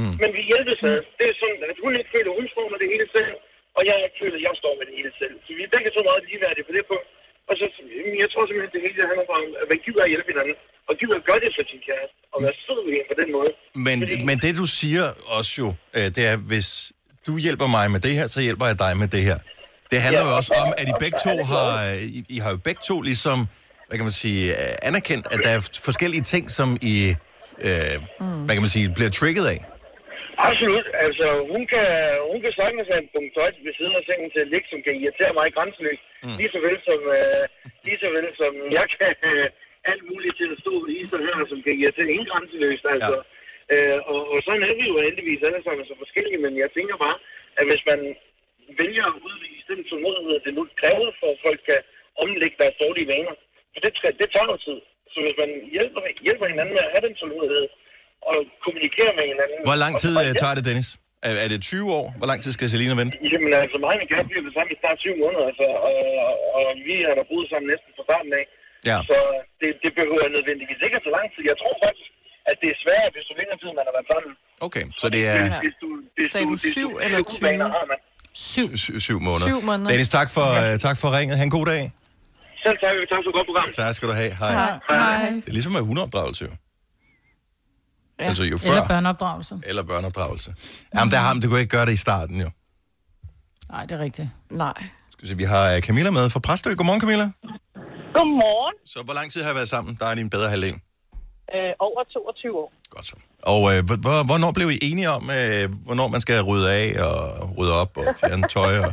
[SPEAKER 11] Mm. Men vi hjælpes ad. Det er sådan, at hun ikke føler, hun står med det hele selv, og jeg ikke føler, at jeg står med det hele selv. Så vi er begge to meget ligeværdige på det punkt. Og så, jamen, jeg tror simpelthen, det hele handler om, at man gider at hjælpe hinanden, og gider at gøre det for sin kæreste, og være sød ved hende på den måde.
[SPEAKER 1] Men, men det, du siger også jo, øh, det er, hvis du hjælper mig med det her, så hjælper jeg dig med det her. Det handler
[SPEAKER 11] Ja.
[SPEAKER 1] jo også om, at I begge to har, øh, I, I har jo begge to ligesom, hvad kan man sige, øh, anerkendt, at der er forskellige ting, som I, øh,
[SPEAKER 11] Mm.
[SPEAKER 1] hvad kan man sige, bliver trigget af.
[SPEAKER 11] Absolut. Altså, hun kan, hun kan sagtens have en punkt tøjt ved siden af sengen til at ligge, som kan irritere mig grænseløst. Mm. Lige så vel som, øh, lige så vel som jeg kan øh, alt muligt til at stå ved isen her, som kan irritere hende grænseløst. Altså, ja. øh, og, og, sådan er vi jo heldigvis alle sammen så forskellige, men jeg tænker bare, at hvis man vælger at udvise den tålmodighed, det nu kræver for, at folk kan omlægge deres dårlige vaner, for det, træ- det tager jo tid. Så hvis man hjælper, hjælper hinanden med at have den tålmodighed, og kommunikere med hinanden.
[SPEAKER 1] Hvor lang tid
[SPEAKER 11] Og-
[SPEAKER 1] øh, tager det, Dennis? Er, er det 20 år? Hvor lang tid skal Selina vente?
[SPEAKER 11] Jamen altså, mig og min kæreste, vi har været sammen i snart 20 måneder, altså, og, og, og vi har da boet sammen næsten fra starten af.
[SPEAKER 1] Ja.
[SPEAKER 11] Så det, det behøver nødvendigvis ikke at tage lang tid. Jeg tror faktisk, at det er sværere, hvis du længere tid, man har været sammen.
[SPEAKER 1] Okay, så det er
[SPEAKER 11] Hvis du, hvis
[SPEAKER 5] Sagde du
[SPEAKER 11] hvis
[SPEAKER 5] syv
[SPEAKER 11] hvis
[SPEAKER 5] eller
[SPEAKER 11] du- vaner har man.
[SPEAKER 1] syv, syv, syv måneder.
[SPEAKER 5] Syv måneder.
[SPEAKER 1] Dennis, tak for, øh, tak for ringet. Ha' en god dag.
[SPEAKER 11] Selv tak, og tak for et godt program.
[SPEAKER 1] Tak skal du have. Hej.
[SPEAKER 5] Hej.
[SPEAKER 1] Det er ligesom med hundeopdragelse jo.
[SPEAKER 5] Ja.
[SPEAKER 1] Altså jo før.
[SPEAKER 3] Eller børneopdragelse.
[SPEAKER 1] Eller børneopdragelse. Jamen, der har det kunne ikke gøre det i starten, jo.
[SPEAKER 3] Nej, det er rigtigt.
[SPEAKER 5] Nej.
[SPEAKER 1] Skal vi, se, vi har øh, Camilla med fra Præstø. Godmorgen, Camilla.
[SPEAKER 12] Godmorgen.
[SPEAKER 1] Så hvor lang tid har I været sammen? Der er din bedre halvdel.
[SPEAKER 12] Øh, over 22 år.
[SPEAKER 1] Og øh, hvor- hvor- hvornår blev I enige om, øh, hvornår man skal rydde af og rydde op og fjerne tøj? Og...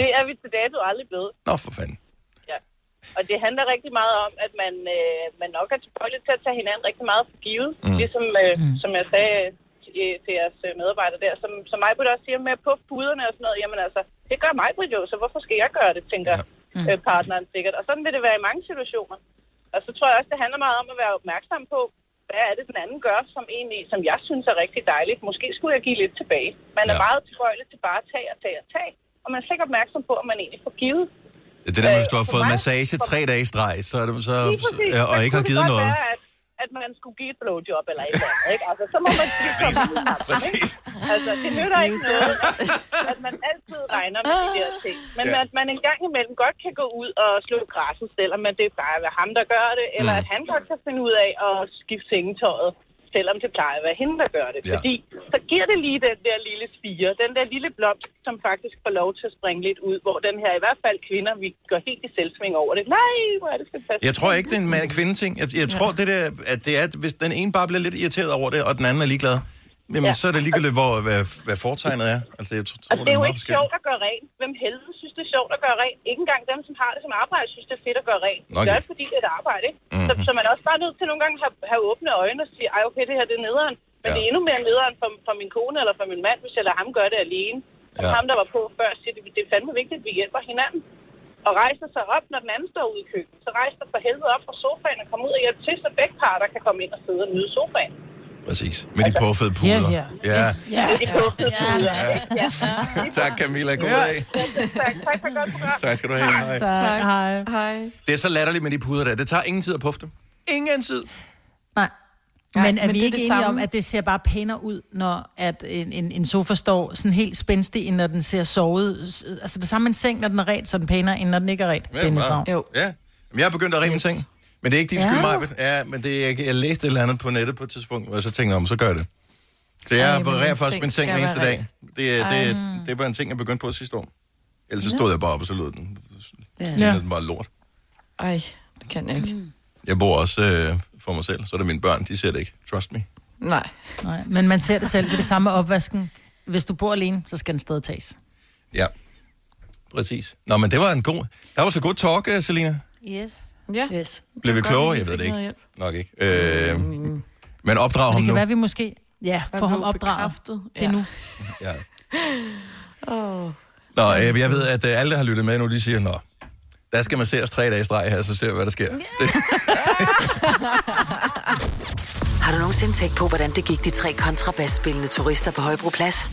[SPEAKER 12] Det er vi til dato aldrig blevet.
[SPEAKER 1] Nå, for fanden.
[SPEAKER 12] Ja. Og det handler rigtig meget om, at man, øh, man nok er tilbøjelig til at tage hinanden rigtig meget for givet. Mm. Ligesom, øh, mm. som jeg sagde til, til jeres øh, medarbejdere der, som, som mig også siger med på puderne og sådan noget. Jamen altså, det gør mig jo, så hvorfor skal jeg gøre det, tænker ja. mm. øh, partneren sikkert. Og sådan vil det være i mange situationer. Og så tror jeg også, det handler meget om at være opmærksom på, hvad er det, den anden gør, som egentlig, som jeg synes er rigtig dejligt. Måske skulle jeg give lidt tilbage. Man er meget tilbøjelig til bare at tage og tage og tage. Og man er slet ikke opmærksom på, at man egentlig får givet.
[SPEAKER 1] Det er der, med, hvis du har
[SPEAKER 12] for
[SPEAKER 1] fået
[SPEAKER 12] mig-
[SPEAKER 1] massage tre dage i streg, så, er det- så,
[SPEAKER 12] Lige præcis.
[SPEAKER 1] ja,
[SPEAKER 12] Men
[SPEAKER 1] og ikke har
[SPEAKER 12] kunne det
[SPEAKER 1] givet
[SPEAKER 12] godt
[SPEAKER 1] noget.
[SPEAKER 12] Være, at, at man skulle give et blowjob eller et eller andet, ikke? Altså, så må man lige komme ud af det, ikke? Altså, det nytter ikke noget, at, at man altid regner med de der ting. Men
[SPEAKER 4] Ja.
[SPEAKER 12] ja. at man en gang imellem godt kan gå ud og slå græsset, selvom man det plejer at være ham, der gør det, eller
[SPEAKER 1] Mm.
[SPEAKER 12] at han godt kan finde ud af at skifte sengetøjet, selvom det plejer at være hende, der gør det.
[SPEAKER 4] Ja.
[SPEAKER 12] Ja. Fordi så giver det lige den der lille spire, den der lille blomst, som faktisk får lov til at springe lidt ud, hvor den her, i hvert fald kvinder, vi går helt i selvsving over det. Nej, hvor er det fantastisk.
[SPEAKER 1] Jeg tror ikke, det er en mand og kvinde ting. Jeg, jeg tror, det der, at det er, at hvis den ene bare bliver lidt irriteret over det, og den anden er ligeglad, jamen,
[SPEAKER 12] Ja.
[SPEAKER 1] så er det ligegyldigt, hvor, hvad, hvad fortegnet er. Altså, jeg tror,
[SPEAKER 12] Og
[SPEAKER 1] tror,
[SPEAKER 12] det er jo
[SPEAKER 1] meget
[SPEAKER 12] ikke
[SPEAKER 1] forskelligt.
[SPEAKER 12] sjovt at gøre rent. Hvem helvede synes, det er sjovt at gøre rent? Ikke engang dem, som har det som arbejde, synes, det er fedt at gøre rent.
[SPEAKER 1] Nå, Mhm.
[SPEAKER 12] Okay. Det er
[SPEAKER 1] ja.
[SPEAKER 12] det, fordi, det er et arbejde, ikke? Mm-hmm. Så, så man er også bare nødt til nogle gange at have, have åbne øjne og sige, ej, okay, det her det er nederen. Men ja. det er endnu mere nederen for, for min kone eller for min mand, hvis jeg lader ham gøre det alene. Og
[SPEAKER 1] Ja.
[SPEAKER 12] ham, der var på før, siger, det, det er fandme vigtigt, at vi hjælper hinanden. Og rejser sig op, når den anden står ude i køkkenet. Så rejser for helvede op fra sofaen og kommer ud og hjælper til, så begge parter kan komme ind og sidde og nyde sofaen.
[SPEAKER 1] Præcis. Med de påfede puder.
[SPEAKER 12] Ja,
[SPEAKER 1] ja.
[SPEAKER 12] Ja.
[SPEAKER 1] Ja. Tak, Camilla. God dag.
[SPEAKER 12] Tak, tak for et godt program.
[SPEAKER 1] Tak skal du have. Hej.
[SPEAKER 3] Tak. Hej.
[SPEAKER 5] Hej.
[SPEAKER 1] Det er så latterligt med de puder der. Det tager ingen tid at puffe dem. Ingen tid.
[SPEAKER 3] Nej.
[SPEAKER 5] Nej,
[SPEAKER 3] men er
[SPEAKER 5] men
[SPEAKER 3] vi
[SPEAKER 5] det er
[SPEAKER 3] ikke
[SPEAKER 5] det
[SPEAKER 3] enige
[SPEAKER 5] samme.
[SPEAKER 3] om, at det ser bare pænere ud, når at en, en, en sofa står sådan helt spændstig, end når den ser sovet? S- Altså det samme med en seng, når den er ret, så er den pænere, end når den ikke er ret.
[SPEAKER 1] Ja, bare- ja. Jamen, jeg er begyndt at rime yes. ting. Men det er ikke din
[SPEAKER 3] Ja.
[SPEAKER 1] skyld, Majbet. Ja, men det er, ikke- jeg læste et eller andet på nettet på et tidspunkt, og så tænkte jeg om, så gør jeg det. Så jeg
[SPEAKER 10] Ej,
[SPEAKER 1] Ej,
[SPEAKER 10] men
[SPEAKER 1] varerer
[SPEAKER 10] min
[SPEAKER 1] faktisk
[SPEAKER 10] seng
[SPEAKER 1] min seng
[SPEAKER 10] skal
[SPEAKER 1] den eneste
[SPEAKER 10] være
[SPEAKER 1] dag. Det, er- det,
[SPEAKER 10] Ej.
[SPEAKER 1] det, det var en ting, jeg begyndte på sidste år. Ellers så
[SPEAKER 5] Nå.
[SPEAKER 1] stod jeg bare op, og så lød den.
[SPEAKER 5] Ja.
[SPEAKER 1] Ja. Den bare lort.
[SPEAKER 5] Ej, det kan jeg ikke. Mm.
[SPEAKER 1] Jeg bor også øh, for mig selv, så er det mine børn, de ser det ikke. Trust me.
[SPEAKER 5] Nej.
[SPEAKER 3] Nej, men man ser det selv. Det er det samme med opvasken. Hvis du bor alene, så skal den stadig tages.
[SPEAKER 1] Ja, præcis. Nå, men det var en god... Der var så god talk, øh, Selina.
[SPEAKER 2] Yes.
[SPEAKER 5] Ja.
[SPEAKER 3] Yes.
[SPEAKER 1] Blev vi klogere? Jeg ved det ikke. Nok ikke. Øh, men opdrag
[SPEAKER 3] Det
[SPEAKER 1] ham
[SPEAKER 3] kan
[SPEAKER 1] nu.
[SPEAKER 3] være, vi måske... Ja,
[SPEAKER 5] Hvad
[SPEAKER 3] for ham
[SPEAKER 5] blev
[SPEAKER 3] opdraget.
[SPEAKER 5] bekræftet?
[SPEAKER 3] Det er nu.
[SPEAKER 1] Ja.
[SPEAKER 5] Oh.
[SPEAKER 1] Nå, jeg, jeg ved, at øh, alle, der har lyttet med nu, de siger, nå, der skal man se os tre dage i streg her, så ser vi, hvad der sker.
[SPEAKER 6] Har du nogensinde tænkt på, hvordan det gik de tre kontrabasspillende turister på Højbroplads?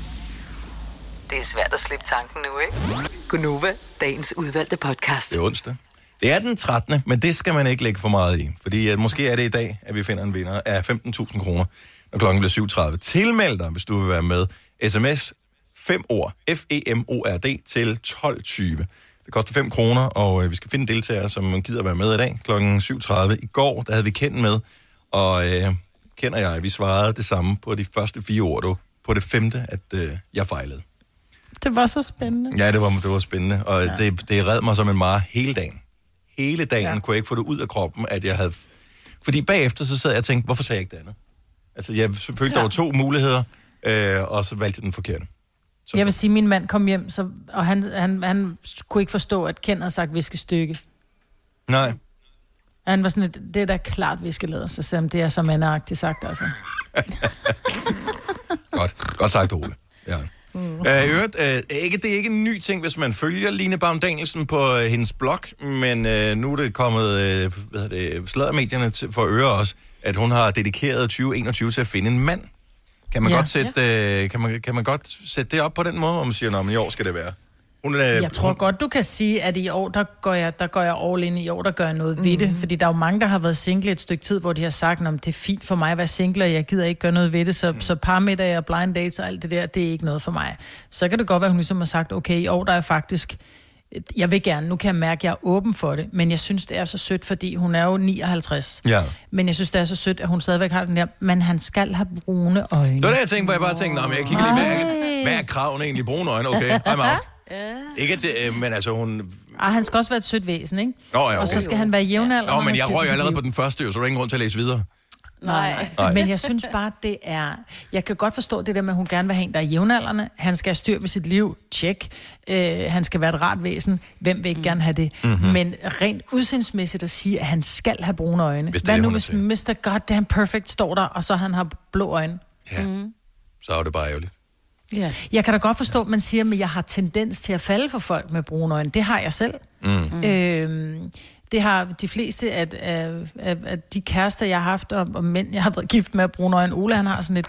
[SPEAKER 6] Det er svært at slippe tanken nu, ikke? Gunova, dagens udvalgte podcast.
[SPEAKER 1] Det er onsdag. Det er den 13., men det skal man ikke lægge for meget i. Fordi uh, måske er det i dag, at vi finder en vinder af 15.000 kroner, når klokken bliver 7.30. Tilmeld dig, hvis du vil være med. SMS 5 ord, E F-E-M-O-R-D, til 12.20. Det koster 5 kroner, og øh, vi skal finde deltagere, som gider være med i dag kl. 7.30. I går, der havde vi kendt med, og øh, kender jeg, vi svarede det samme på de første fire ord. Det var på det femte, at øh, jeg fejlede.
[SPEAKER 3] Det var så spændende.
[SPEAKER 1] Ja, det var, det var spændende, og ja. det, det red mig som en mare hele dagen. Hele dagen ja. kunne jeg ikke få det ud af kroppen, at jeg havde... Fordi bagefter så sad jeg og tænkte, hvorfor sagde jeg ikke det andet? Altså, jeg følte, ja. der var to muligheder, øh, og så valgte jeg den forkerte.
[SPEAKER 3] Jeg vil sige, at min mand kom hjem, så, og han, han, han kunne ikke forstå, at Ken havde sagt viskestykke.
[SPEAKER 1] Nej.
[SPEAKER 3] Og han var sådan lidt, det er da klart viskelæder, så selvom det er så mandagtigt sagt, altså.
[SPEAKER 1] Godt, godt sagt, Ole. Ja. Mm. Øh, i øvrigt, øh, ikke, det er ikke en ny ting, hvis man følger Line Baum Danielsen på øh, hendes blog, men øh, nu er det kommet øh, hvad hedder det, sladdermedierne til, for øre også, at hun har dedikeret 2021 til at finde en mand. Kan man, ja,
[SPEAKER 3] Ja.
[SPEAKER 1] godt sætte, øh, kan, man, kan man godt sætte det op på den måde, hvor man siger, "Nå, men i år skal det være? Hun, øh,
[SPEAKER 3] Jeg tror godt, du kan sige, at i år, der går jeg, der går jeg all in. I år, der gør jeg noget ved
[SPEAKER 1] Mm.
[SPEAKER 3] det. Fordi der er jo mange, der har været single et stykke tid, hvor de har sagt, at det er fint for mig at være single, og jeg gider ikke gøre noget ved det. Så, mm. så parmiddag og blind dates og alt det der, det er ikke noget for mig. Så kan det godt være, at hun ligesom har sagt, okay, i år, der er faktisk... Jeg vil gerne, nu kan jeg mærke, at jeg er åben for det, men jeg synes, det er så sødt, fordi hun er jo 59.
[SPEAKER 1] Ja.
[SPEAKER 3] Men jeg synes, det er så sødt, at hun stadigvæk har den der, men han skal have brune øjne.
[SPEAKER 1] Det var det, jeg tænkte, hvor jeg bare tænkte, "Nå, men jeg kigger lige, hvad er, hvad er kravene egentlig? Brune øjne, okay, I'm out. Ikke, at det, øh, men altså, hun
[SPEAKER 3] Ah, han skal også være et sødt væsen, ikke?
[SPEAKER 1] Nå, ja,
[SPEAKER 3] Og så
[SPEAKER 1] okay.
[SPEAKER 3] skal han være jævnaldrende.
[SPEAKER 1] Nå,
[SPEAKER 3] og han
[SPEAKER 1] men jeg
[SPEAKER 3] skal
[SPEAKER 1] røg
[SPEAKER 3] til
[SPEAKER 1] allerede
[SPEAKER 3] liv.
[SPEAKER 1] på den første, jo, så er der ingen grund til at læse videre.
[SPEAKER 3] Nej.
[SPEAKER 1] Nej.
[SPEAKER 3] Nej. Men jeg synes bare, det er... Jeg kan godt forstå det der med, at hun gerne vil have en, der er jævnaldrende. Han skal have styr på sit liv. Tjek. Øh, han skal være et rart væsen. Hvem vil ikke mm. gerne have det?
[SPEAKER 1] Mhm.
[SPEAKER 3] Mm-hmm. Men rent udsendsmæssigt at sige, at han skal have brune øjne.
[SPEAKER 1] Hvis det er
[SPEAKER 3] Hvad
[SPEAKER 1] det,
[SPEAKER 3] nu,
[SPEAKER 1] hun er
[SPEAKER 3] hvis Mr. Goddamn Perfect står der, og så han har blå øjne?
[SPEAKER 1] Ja. Mm. Så er det bare ærgerligt.
[SPEAKER 3] Ja. Jeg kan da godt forstå, at man siger, at jeg har tendens til at falde for folk med brune øjne. Det har jeg selv.
[SPEAKER 1] Mm.
[SPEAKER 3] Mm. Øhm, det har de fleste af, af, af, af de kærester, jeg har haft, og, og mænd, jeg har været gift med, brune øjne. Ole, han har sådan et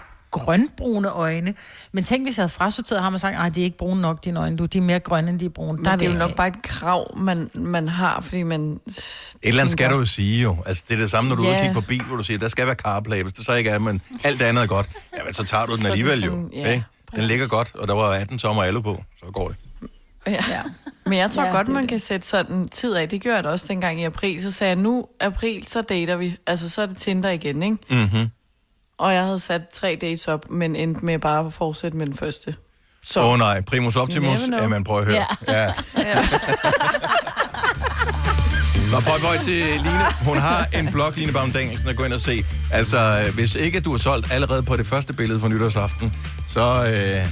[SPEAKER 3] grønbrune øjne. Men tænk, hvis jeg havde frasorteret ham og sagt, nej, de er ikke brune nok, dine øjne. Du, de er mere grønne, end de er brune.
[SPEAKER 5] Men det er jo
[SPEAKER 3] vil
[SPEAKER 5] nok
[SPEAKER 3] jeg
[SPEAKER 5] bare et krav, man, man har, fordi man...
[SPEAKER 1] Et eller andet skal du jo sige jo. Altså, det er det samme, når du yeah. er ude og
[SPEAKER 5] Ja.
[SPEAKER 1] kigge på bil, hvor du siger, der skal være carplay. Hvis det så ikke er, men alt det andet er godt, jamen, så tager du den
[SPEAKER 5] Så er det
[SPEAKER 1] alligevel jo.
[SPEAKER 5] sådan, ja,
[SPEAKER 1] Ja, den ligger godt, og der var 18 tommer alle på. Så går det.
[SPEAKER 5] Ja. ja. Men jeg tror
[SPEAKER 1] Ja,
[SPEAKER 5] ja, godt,
[SPEAKER 1] det er
[SPEAKER 5] man
[SPEAKER 1] det.
[SPEAKER 5] kan sætte sådan tid af. Det gjorde jeg da også dengang i april. Så sagde jeg, nu april, så dater vi. Altså, så er det Tinder igen, ikke?
[SPEAKER 1] Mm-hmm.
[SPEAKER 5] Og jeg havde sat tre dates op, men endte med bare at fortsætte med den første. Så.
[SPEAKER 1] Åh oh, nej, primus
[SPEAKER 5] You never
[SPEAKER 1] optimus,
[SPEAKER 5] know.
[SPEAKER 1] ja, man prøver at høre. Ja. ja. Nå, prøv prøv til Line. Hun har en blog, Line Baum Danielsen, at gå ind og se. Altså, øh, hvis ikke du er solgt allerede på det første billede fra nytårsaften, så, øh, ja, I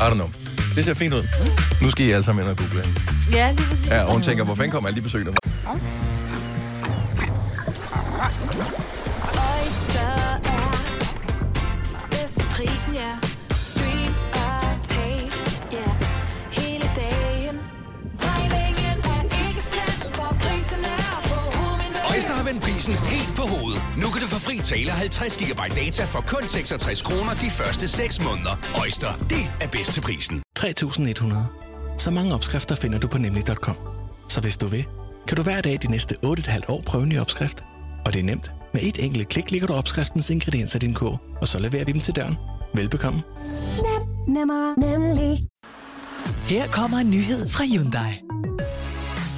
[SPEAKER 1] don't know. Det ser fint ud. Nu skal I alle sammen ind og google. ikke?
[SPEAKER 4] Ja, lige præcis.
[SPEAKER 1] Ja, og hun tænker, hvor fanden kommer alle de besøgende fra?
[SPEAKER 10] Oyster er bedst til prisen, ja. Stream og tag, ja. Hele dagen. Regningen er ikke slem, for prisen er på hovedet.
[SPEAKER 13] Øjster har vendt prisen helt på hovedet. Nu kan du få fri tale 50 GB data for kun 66 kroner de første 6 måneder. Øjster, det er bedst til prisen.
[SPEAKER 14] 3100. Så mange opskrifter finder du på nemlig.com. Så hvis du vil, kan du hver dag de næste 8,5 år prøve en ny opskrift. Og det er nemt. Med et enkelt klik ligger du opskriftens ingredienser i din kog, og så leverer vi dem til døren. Velbekomme.
[SPEAKER 10] Nem, nemmer, nemlig.
[SPEAKER 15] Her kommer en nyhed fra Hyundai.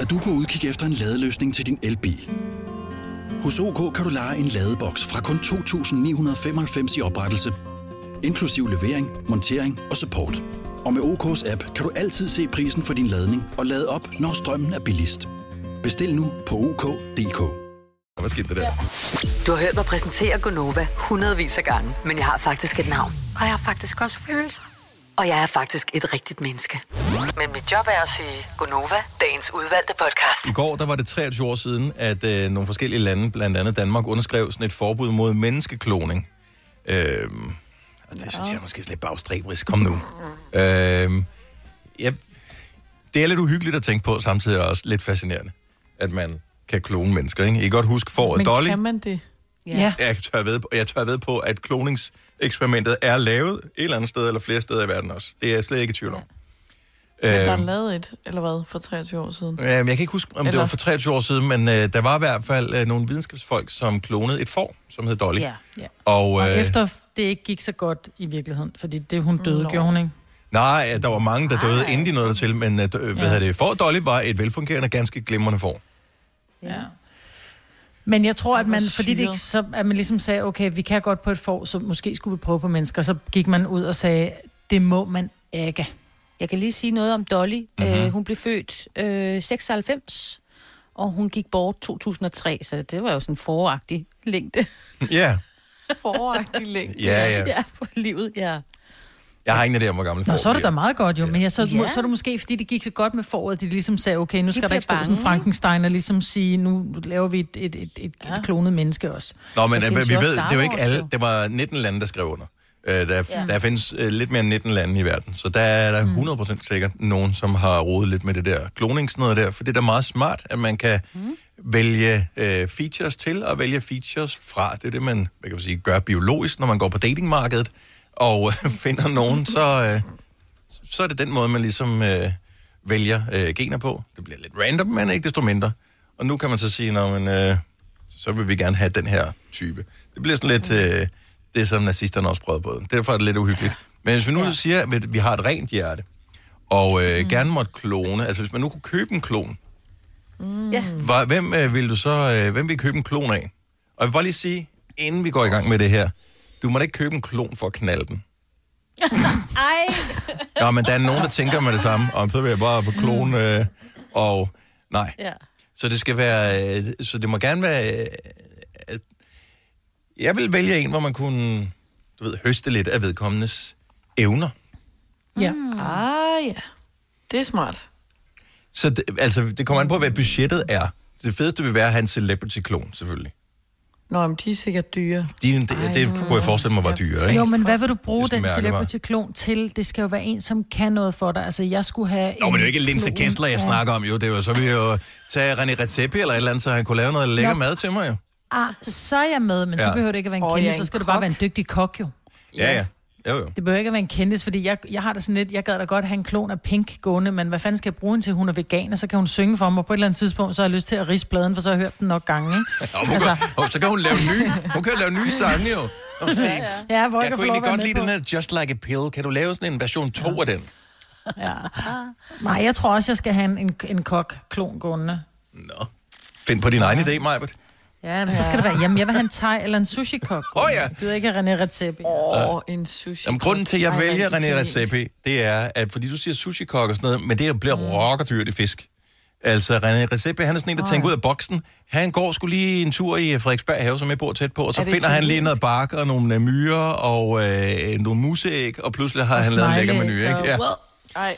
[SPEAKER 16] er du på udkig efter en ladeløsning til din elbil. Hos OK kan du lege en ladeboks fra kun 2.995 i oprettelse, inklusiv levering, montering og support. Og med OK's app kan du altid se prisen for din ladning og lade op, når strømmen er billigst. Bestil nu på OK.dk.
[SPEAKER 1] Hvad skete der der?
[SPEAKER 6] Du har hørt mig præsentere Gonova hundredvis af gange, men jeg har faktisk et navn.
[SPEAKER 17] Og jeg har faktisk også følelser.
[SPEAKER 6] Og jeg er faktisk et rigtigt menneske. Men mit job er at sige Gunova, dagens udvalgte podcast.
[SPEAKER 1] I går der var det 23 år siden, at øh, nogle forskellige lande, blandt andet Danmark, underskrev sådan et forbud mod menneskekloning. Øh, og det synes jeg er måske lidt bagstræberisk. Kom nu. Øh, ja, det er lidt uhyggeligt at tænke på, samtidig er det også lidt fascinerende, at man kan klone mennesker. Ikke? I kan godt huske foråret
[SPEAKER 5] Men
[SPEAKER 1] Dolly.
[SPEAKER 5] kan man det?
[SPEAKER 1] Ja. Jeg, tør ved på, jeg tør ved på, at kloningseksperimentet er lavet et eller andet sted, eller flere steder i verden også. Det er jeg slet ikke i tvivl om.
[SPEAKER 5] Men der er
[SPEAKER 1] Øhm,
[SPEAKER 5] lavet et, eller hvad, for 23 år siden?
[SPEAKER 1] Ja, men Øhm, jeg kan ikke huske, om Eller... det var for 23 år siden, men øh, der var i hvert fald øh, nogle videnskabsfolk, som klonede et får, som hed Dolly.
[SPEAKER 3] Ja. ja.
[SPEAKER 1] Og,
[SPEAKER 3] Og
[SPEAKER 1] øh,
[SPEAKER 3] efter det ikke gik så godt i virkeligheden, fordi det, hun døde,
[SPEAKER 1] Nå.
[SPEAKER 3] gjorde hun ikke.
[SPEAKER 1] Nej, øh, der var mange, der døde, inden de nåede dertil, men øh, dø- hvad hedder det, for Dolly var et velfungerende, ganske glimrende får.
[SPEAKER 3] Ja. Men jeg tror, at
[SPEAKER 5] hvor
[SPEAKER 3] man, fordi det
[SPEAKER 5] syret.
[SPEAKER 3] ikke, så, at man ligesom sagde, okay, vi kan godt på et får, så måske skulle vi prøve på mennesker, så gik man ud og sagde, det må man ikke.
[SPEAKER 2] Jeg kan lige sige noget om Dolly.
[SPEAKER 1] Mhm.
[SPEAKER 2] Mm-hmm. Øh, hun blev født øh, 96, og hun gik bort 2003, så det var jo sådan en foragtig længde.
[SPEAKER 1] Ja,
[SPEAKER 5] Foragtig længde.
[SPEAKER 1] Ja, ja.
[SPEAKER 2] ja, på livet, ja.
[SPEAKER 1] jeg har ingen idé om, hvor gammel
[SPEAKER 3] Nå,
[SPEAKER 1] får
[SPEAKER 3] så er det
[SPEAKER 1] bliver.
[SPEAKER 3] da meget godt jo, men jeg, så,
[SPEAKER 2] Ja.
[SPEAKER 3] ja. så er det måske, fordi det gik så godt med foråret, de ligesom sagde, okay, nu
[SPEAKER 2] De
[SPEAKER 3] skal der
[SPEAKER 2] bliver
[SPEAKER 3] ikke stå sådan
[SPEAKER 2] bange,
[SPEAKER 3] en Frankenstein og ligesom sige, nu nu laver vi et, et, et, et, ja. et klonet menneske også.
[SPEAKER 1] Nå, men
[SPEAKER 3] Der
[SPEAKER 1] øh,
[SPEAKER 3] findes
[SPEAKER 1] vi
[SPEAKER 3] jo også
[SPEAKER 1] ved, det
[SPEAKER 3] Star
[SPEAKER 1] er jo ikke
[SPEAKER 3] Wars,
[SPEAKER 1] alle. Det var 19 lande, der skrev under. Øh, der,
[SPEAKER 3] Ja. Mm.
[SPEAKER 1] ja. der findes øh, lidt mere end 19 lande i verden, så der er der 100% sikkert nogen, som har rodet lidt med det der kloning, sådan noget der, for det er da meget smart, at man kan mm. vælge øh, features til og vælge features fra. Det er det, man, hvad kan man sige, gør biologisk, når man går på datingmarkedet og øh, finder nogen, så, øh, så er det den måde, man ligesom øh, vælger øh, gener på. Det bliver lidt random, men ikke desto mindre. Og nu kan man så sige, "Nå, men, øh, så vil vi gerne have den her type. Det bliver sådan lidt øh, det, som nazisterne også prøvede på. Derfor er det lidt uhyggeligt. Men hvis vi nu siger, at vi har et rent hjerte, og øh, mm. gerne måtte klone, altså hvis man nu kunne købe en klon,
[SPEAKER 2] Mm. ja.
[SPEAKER 1] var, hvem øh, vil du så, øh, hvem vil I købe en klon af? Og jeg vil bare lige sige, inden vi går i gang med det her, du må da ikke købe en klon for at knalde den.
[SPEAKER 2] Ej!
[SPEAKER 1] Ja, men der er nogen, der tænker med det samme, om så vil jeg bare på klon, øh, og nej.
[SPEAKER 2] Ja.
[SPEAKER 1] Så det skal være, øh, så det må gerne være, øh, at- jeg vil vælge en, hvor man kunne, du ved, høste lidt af vedkommendes evner.
[SPEAKER 5] Ja. Ah, ja. Det er smart.
[SPEAKER 1] Så det, altså, det kommer an på, hvad budgettet er. Det fedeste vil være at have en celebrity-klon, selvfølgelig.
[SPEAKER 5] Nå, men de er sikkert dyre.
[SPEAKER 1] De, det, det kunne jeg forestille mig var dyre, ikke?
[SPEAKER 3] Jo, men hvad vil du bruge
[SPEAKER 1] Det er
[SPEAKER 3] den
[SPEAKER 1] sådan en mærkevare.
[SPEAKER 3] celebrity-klon til? Det skal jo være en, som kan noget for dig. Altså, jeg skulle have...
[SPEAKER 1] Nå, men det er jo ikke
[SPEAKER 3] en
[SPEAKER 1] Linse
[SPEAKER 3] klon
[SPEAKER 1] Kessler, jeg
[SPEAKER 3] af-
[SPEAKER 1] snakker om, jo. Det var, så ville jeg jo tage René Redzepi eller et eller andet, så han kunne lave noget lækker
[SPEAKER 3] Nå.
[SPEAKER 1] mad til mig, jo.
[SPEAKER 3] Ah, så er jeg med, men ja.
[SPEAKER 1] Ja.
[SPEAKER 3] så behøver det ikke at være en
[SPEAKER 5] Åh,
[SPEAKER 3] kendis,
[SPEAKER 5] ja,
[SPEAKER 3] så
[SPEAKER 5] en
[SPEAKER 3] skal du bare være en dygtig kok, jo.
[SPEAKER 1] Ja, ja. Jo, jo.
[SPEAKER 3] Det behøver ikke at være en kendis, fordi jeg, jeg har det sådan lidt, jeg gad da godt have en klon af Pink gående, men hvad fanden skal jeg bruge hende til? Hun er veganer, så kan hun synge for mig, og på et eller andet tidspunkt, så har jeg lyst til at riste bladen, for så har jeg hørt den nok gange, ikke?
[SPEAKER 1] Og hun altså... kan, og så kan hun lave nye, hun kan lave nye sange, jo. Og se,
[SPEAKER 3] Ja, hvor
[SPEAKER 1] jeg
[SPEAKER 3] kan
[SPEAKER 1] kunne
[SPEAKER 3] få lov at
[SPEAKER 1] egentlig
[SPEAKER 3] være
[SPEAKER 1] godt
[SPEAKER 3] med
[SPEAKER 1] lide
[SPEAKER 3] på.
[SPEAKER 1] den her Just Like a Pill. Kan du lave sådan en version 2 af den?
[SPEAKER 3] Ja. Nej, jeg tror også, jeg skal have en, en, en kok-klon gående.
[SPEAKER 1] Find på din egen idé, Majbert.
[SPEAKER 3] Ja, men så skal det være, jamen jeg vil have en thai eller en sushi-kok. Åh
[SPEAKER 1] oh, ja.
[SPEAKER 3] Jeg gider ikke have René Redzepi.
[SPEAKER 1] Åh,
[SPEAKER 5] Og en sushi.
[SPEAKER 1] Jamen, grunden til, at jeg
[SPEAKER 5] Ej,
[SPEAKER 1] vælger
[SPEAKER 5] en
[SPEAKER 1] René
[SPEAKER 5] italiensk.
[SPEAKER 1] Redzepi, det er, at fordi du siger sushi-kok og sådan noget, men det bliver rockerdyrt i fisk. Altså, René Redzepi, han er sådan en, der tænker ud af boksen. Han går skulle lige en tur i Frederiksberg Have, som jeg bor tæt på, og så
[SPEAKER 5] Er det
[SPEAKER 1] finder han lige
[SPEAKER 5] italiensk?
[SPEAKER 1] noget bark og nogle øh, myrer og øh, nogle museæg, og pludselig har
[SPEAKER 2] Og
[SPEAKER 1] han lavet en lækker menu,
[SPEAKER 2] smiley,
[SPEAKER 1] ikke?
[SPEAKER 2] og-
[SPEAKER 1] Ja.
[SPEAKER 2] Ej.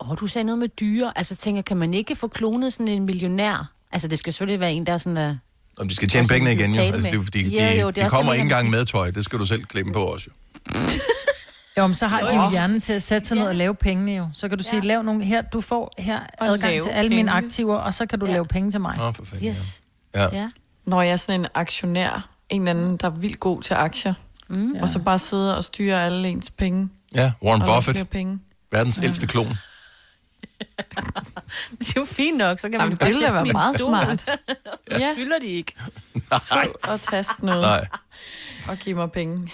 [SPEAKER 2] Åh, oh, du sagde noget med dyre. Altså, tænker, kan man ikke få klonet sådan en millionær? Altså, det skal selvfølgelig være en, der er sådan øh, er...
[SPEAKER 1] Om de skal tjene
[SPEAKER 2] Også
[SPEAKER 1] pengene
[SPEAKER 2] sådan,
[SPEAKER 1] igen,
[SPEAKER 2] du
[SPEAKER 1] jo.
[SPEAKER 2] talte
[SPEAKER 1] Altså, det er jo
[SPEAKER 2] med.
[SPEAKER 1] fordi, de,
[SPEAKER 2] Ja, jo, det er
[SPEAKER 1] de
[SPEAKER 2] også
[SPEAKER 1] kommer
[SPEAKER 2] det,
[SPEAKER 1] ikke
[SPEAKER 2] man-
[SPEAKER 1] engang med tøj. Det skal du selv klemme på også, jo.
[SPEAKER 3] Jo, men så har de
[SPEAKER 5] Nå.
[SPEAKER 3] jo hjernen til at sætte sig ned og lave pengene jo. Så kan du sige, lav nogle her, du får her
[SPEAKER 5] Og
[SPEAKER 3] adgang
[SPEAKER 5] lave
[SPEAKER 3] til alle mine
[SPEAKER 5] penge.
[SPEAKER 3] aktiver, og så kan du lave penge til mig.
[SPEAKER 1] Nå, for fanden,
[SPEAKER 5] Yes.
[SPEAKER 1] Ja.
[SPEAKER 5] Ja. Når jeg er sådan en aktionær, en eller anden, der er vildt god til aktier, mm. og så bare sidder og styrer alle ens penge.
[SPEAKER 1] Ja, Warren
[SPEAKER 5] og laver
[SPEAKER 1] Buffett.
[SPEAKER 5] flere Penge.
[SPEAKER 1] Verdens ældste klon.
[SPEAKER 2] Det er jo fint nok, så kan man
[SPEAKER 5] Jamen,
[SPEAKER 2] jo bare
[SPEAKER 5] det ville da
[SPEAKER 2] sætte
[SPEAKER 5] være
[SPEAKER 2] dem i en
[SPEAKER 5] meget
[SPEAKER 2] stol.
[SPEAKER 5] smart.
[SPEAKER 2] Så
[SPEAKER 5] Ja.
[SPEAKER 2] fylder de ikke.
[SPEAKER 1] Nej.
[SPEAKER 5] Og tast noget.
[SPEAKER 1] Nej.
[SPEAKER 5] Og giv mig penge.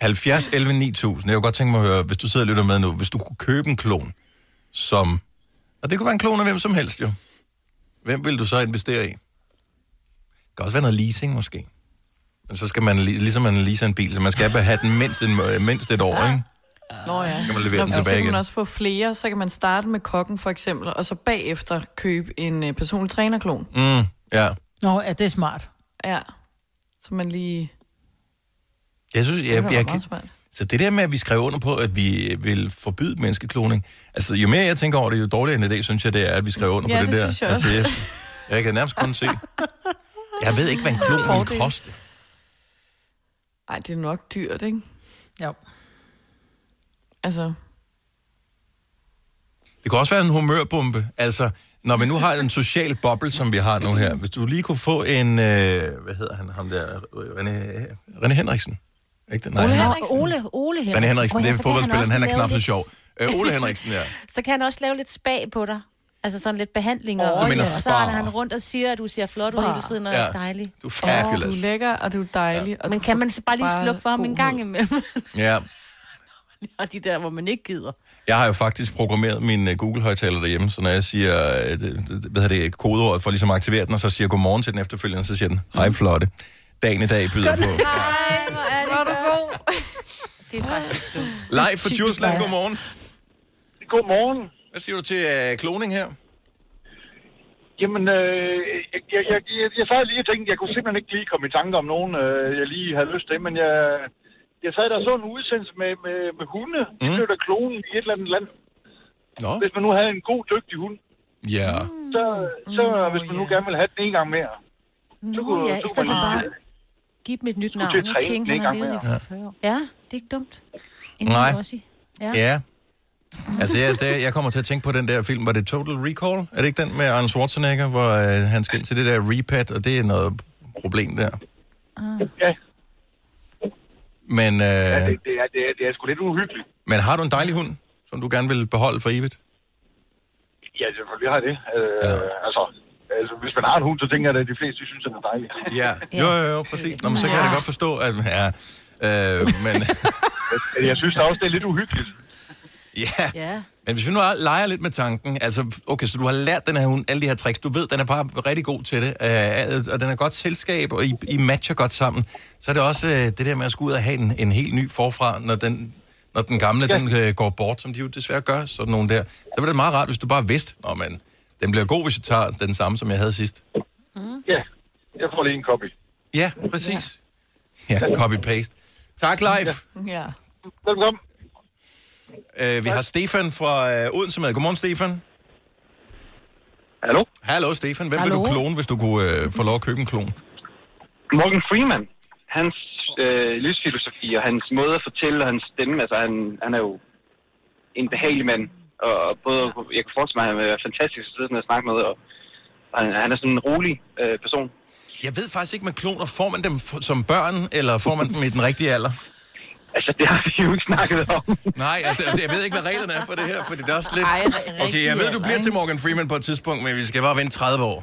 [SPEAKER 1] 70, 11, 9000. Jeg kunne godt tænke mig at høre, hvis du sidder og lytter med nu, hvis du kunne købe en klon, som... Og det kunne være en klon af hvem som helst, jo. Hvem vil du så investere i? Det kan også være noget leasing, måske. Men så skal man, li- ligesom man leaser en bil, så man skal bare have den mindst, en, øh, mindst et år, ikke?
[SPEAKER 2] Ah.
[SPEAKER 5] Nå ja.
[SPEAKER 1] Kan man levere den
[SPEAKER 5] for så
[SPEAKER 1] tilbage
[SPEAKER 5] kan
[SPEAKER 1] igen.
[SPEAKER 5] man også få flere, så kan man starte med kokken for eksempel, og så bagefter købe en øh, personlig trænerklon.
[SPEAKER 1] Mm, ja.
[SPEAKER 3] Nå, ja, det er smart.
[SPEAKER 5] Ja. Så man lige...
[SPEAKER 1] Jeg synes,
[SPEAKER 5] Det
[SPEAKER 1] jeg,
[SPEAKER 5] var
[SPEAKER 1] jeg,
[SPEAKER 5] meget
[SPEAKER 1] jeg,
[SPEAKER 5] smart.
[SPEAKER 1] Så det der med, at vi skrev under på, at vi øh, vil forbyde menneskekloning, altså jo mere jeg tænker over det, jo dårligere en idé, synes jeg, det er, at vi skrev under
[SPEAKER 5] Ja,
[SPEAKER 1] på det,
[SPEAKER 5] det
[SPEAKER 1] der.
[SPEAKER 5] synes jeg
[SPEAKER 1] altså,
[SPEAKER 5] også.
[SPEAKER 1] jeg, jeg kan nærmest kun se. Jeg ved ikke, hvad en klon vil
[SPEAKER 5] Fordel.
[SPEAKER 1] koste.
[SPEAKER 5] Ej, det er nok dyrt, ikke?
[SPEAKER 3] Jo.
[SPEAKER 5] Altså,
[SPEAKER 1] Det kan også være en humørbombe. Altså, når vi nu har en social boble, som vi har nu her. Hvis du lige kunne få en, øh, hvad hedder han, ham der, René, René Henriksen. Ikke det?
[SPEAKER 2] Ole
[SPEAKER 1] han-
[SPEAKER 2] Henriksen. Ole, Ole Henriksen.
[SPEAKER 1] René Henriksen,
[SPEAKER 2] Åh, ja,
[SPEAKER 1] det er
[SPEAKER 2] så kan han
[SPEAKER 1] fodboldspilleren,
[SPEAKER 2] også
[SPEAKER 1] han er
[SPEAKER 2] lave
[SPEAKER 1] knap så
[SPEAKER 2] lidt-
[SPEAKER 1] sjov. Øh, Ole Henriksen, ja.
[SPEAKER 2] Så kan han også lave lidt spag på dig. Altså sådan lidt behandlinger.
[SPEAKER 1] Åh, Du mener
[SPEAKER 2] og så
[SPEAKER 1] spa.
[SPEAKER 2] er han rundt og siger, at du ser flot ud
[SPEAKER 5] Spa.
[SPEAKER 2] hele tiden, og
[SPEAKER 1] Ja.
[SPEAKER 2] er dejlig.
[SPEAKER 1] Du er fabulous.
[SPEAKER 5] du er lækker, og du er dejlig. Ja. Og
[SPEAKER 2] Men
[SPEAKER 5] du
[SPEAKER 2] kan
[SPEAKER 5] får
[SPEAKER 2] man så bare lige
[SPEAKER 5] bare
[SPEAKER 2] slukke for ham
[SPEAKER 5] god
[SPEAKER 2] en gang imellem?
[SPEAKER 1] Ja,
[SPEAKER 2] og de der, hvor man ikke gider.
[SPEAKER 1] jeg har jo faktisk programmeret min øh, Google-højtaler derhjemme, så når jeg siger, øh, det, det, hvad hedder det, kodeordet for ligesom at aktivere den, og så siger jeg godmorgen til den efterfølgende, så siger den, hej flotte, dagen i dag byder på.
[SPEAKER 2] Ej, hvor er det
[SPEAKER 5] Hvor er du god.
[SPEAKER 2] Det er faktisk dumt.
[SPEAKER 1] Live fra Djursland, godmorgen.
[SPEAKER 17] Godmorgen.
[SPEAKER 1] Hvad siger du til øh, kloning her?
[SPEAKER 17] Jamen, øh, jeg, jeg, jeg, jeg, jeg sad lige og tænkte, jeg kunne simpelthen ikke lige komme i tanke om nogen, øh, jeg lige havde lyst til, men jeg, jeg sad der og så en udsendelse med, med, med hunde. Mm. De blev der klonen i et eller andet land.
[SPEAKER 1] Nå.
[SPEAKER 17] Hvis man nu havde en god, dygtig hund,
[SPEAKER 1] Ja.
[SPEAKER 17] så, så hvis man nu gerne ville have den en gang mere.
[SPEAKER 2] Nå ja, i stedet for bare give dem et nyt navn.
[SPEAKER 17] til at træne
[SPEAKER 2] King,
[SPEAKER 17] den
[SPEAKER 2] han
[SPEAKER 17] en
[SPEAKER 2] har
[SPEAKER 17] gang
[SPEAKER 2] levet
[SPEAKER 17] mere.
[SPEAKER 2] i 40 år. Ja, det er ikke dumt. En
[SPEAKER 1] Nej.
[SPEAKER 2] lille Aussie. Ja.
[SPEAKER 1] Ja. Altså, jeg, det, jeg kommer til at tænke på den der film, var det Total Recall? Er det ikke den med Arnold Schwarzenegger, hvor øh, han skal ind til det der repad, og det er noget problem der?
[SPEAKER 17] Ah. Ja.
[SPEAKER 1] Men, øh,
[SPEAKER 17] Ja, det, det, er, det, er, det er sgu lidt uhyggeligt.
[SPEAKER 1] men har du en dejlig hund, som du gerne vil beholde for evigt?
[SPEAKER 17] Ja, selvfølgelig har jeg det. Øh, ja. altså, altså, hvis man har en hund, så tænker jeg, at de fleste de synes, den er dejlig.
[SPEAKER 1] Ja, jo, jo, jo, præcis. Nå, men så kan jeg da godt forstå, at... Ja, øh, men...
[SPEAKER 17] jeg synes da også, det er lidt uhyggeligt.
[SPEAKER 1] Ja. ja. Men hvis vi nu leger lidt med tanken, altså, okay, så du har lært den her hund alle de her tricks, du ved, den er bare rigtig god til det, øh, og den er godt selskab, og I, I matcher godt sammen, så er det også øh, det der med at skulle ud og have en, en helt ny forfra, når den, når den gamle, ja. den øh, går bort, som de jo desværre gør, sådan nogen der. Så ville det meget rart, hvis du bare vidste, nå, men, den bliver god, hvis jeg tager den samme, som jeg havde sidst.
[SPEAKER 17] Ja, jeg får lige en copy.
[SPEAKER 1] Ja, præcis. Ja, copy-paste. Tak, Leif.
[SPEAKER 5] Ja.
[SPEAKER 17] Velkommen.
[SPEAKER 1] Øh, vi har Stefan fra øh, Odense med. Godmorgen, Stefan.
[SPEAKER 17] Hallo?
[SPEAKER 1] Hallo, Stefan. Hvem
[SPEAKER 18] Hallo.
[SPEAKER 1] vil du klone, hvis du kunne øh, få lov at købe en klon?
[SPEAKER 18] Morgan Freeman, hans øh, livsfilosofi og hans måde at fortælle og hans stemme, altså han, han er jo en behagelig mand. Og både, jeg kan forestille mig, at han er fantastisk at sidde sådan og snakke med, og, og han, han er sådan en rolig øh, person.
[SPEAKER 1] Jeg ved faktisk ikke med kloner. Får man dem f- som børn, eller får man dem i den rigtige alder?
[SPEAKER 18] Altså, det har vi jo ikke snakket om.
[SPEAKER 1] Nej, og det, jeg ved ikke, hvad reglerne er for det her, for det er også lidt...
[SPEAKER 18] Ej,
[SPEAKER 1] Okay, jeg ved, du bliver til Morgan Freeman på et tidspunkt, men vi skal bare vente 30 år.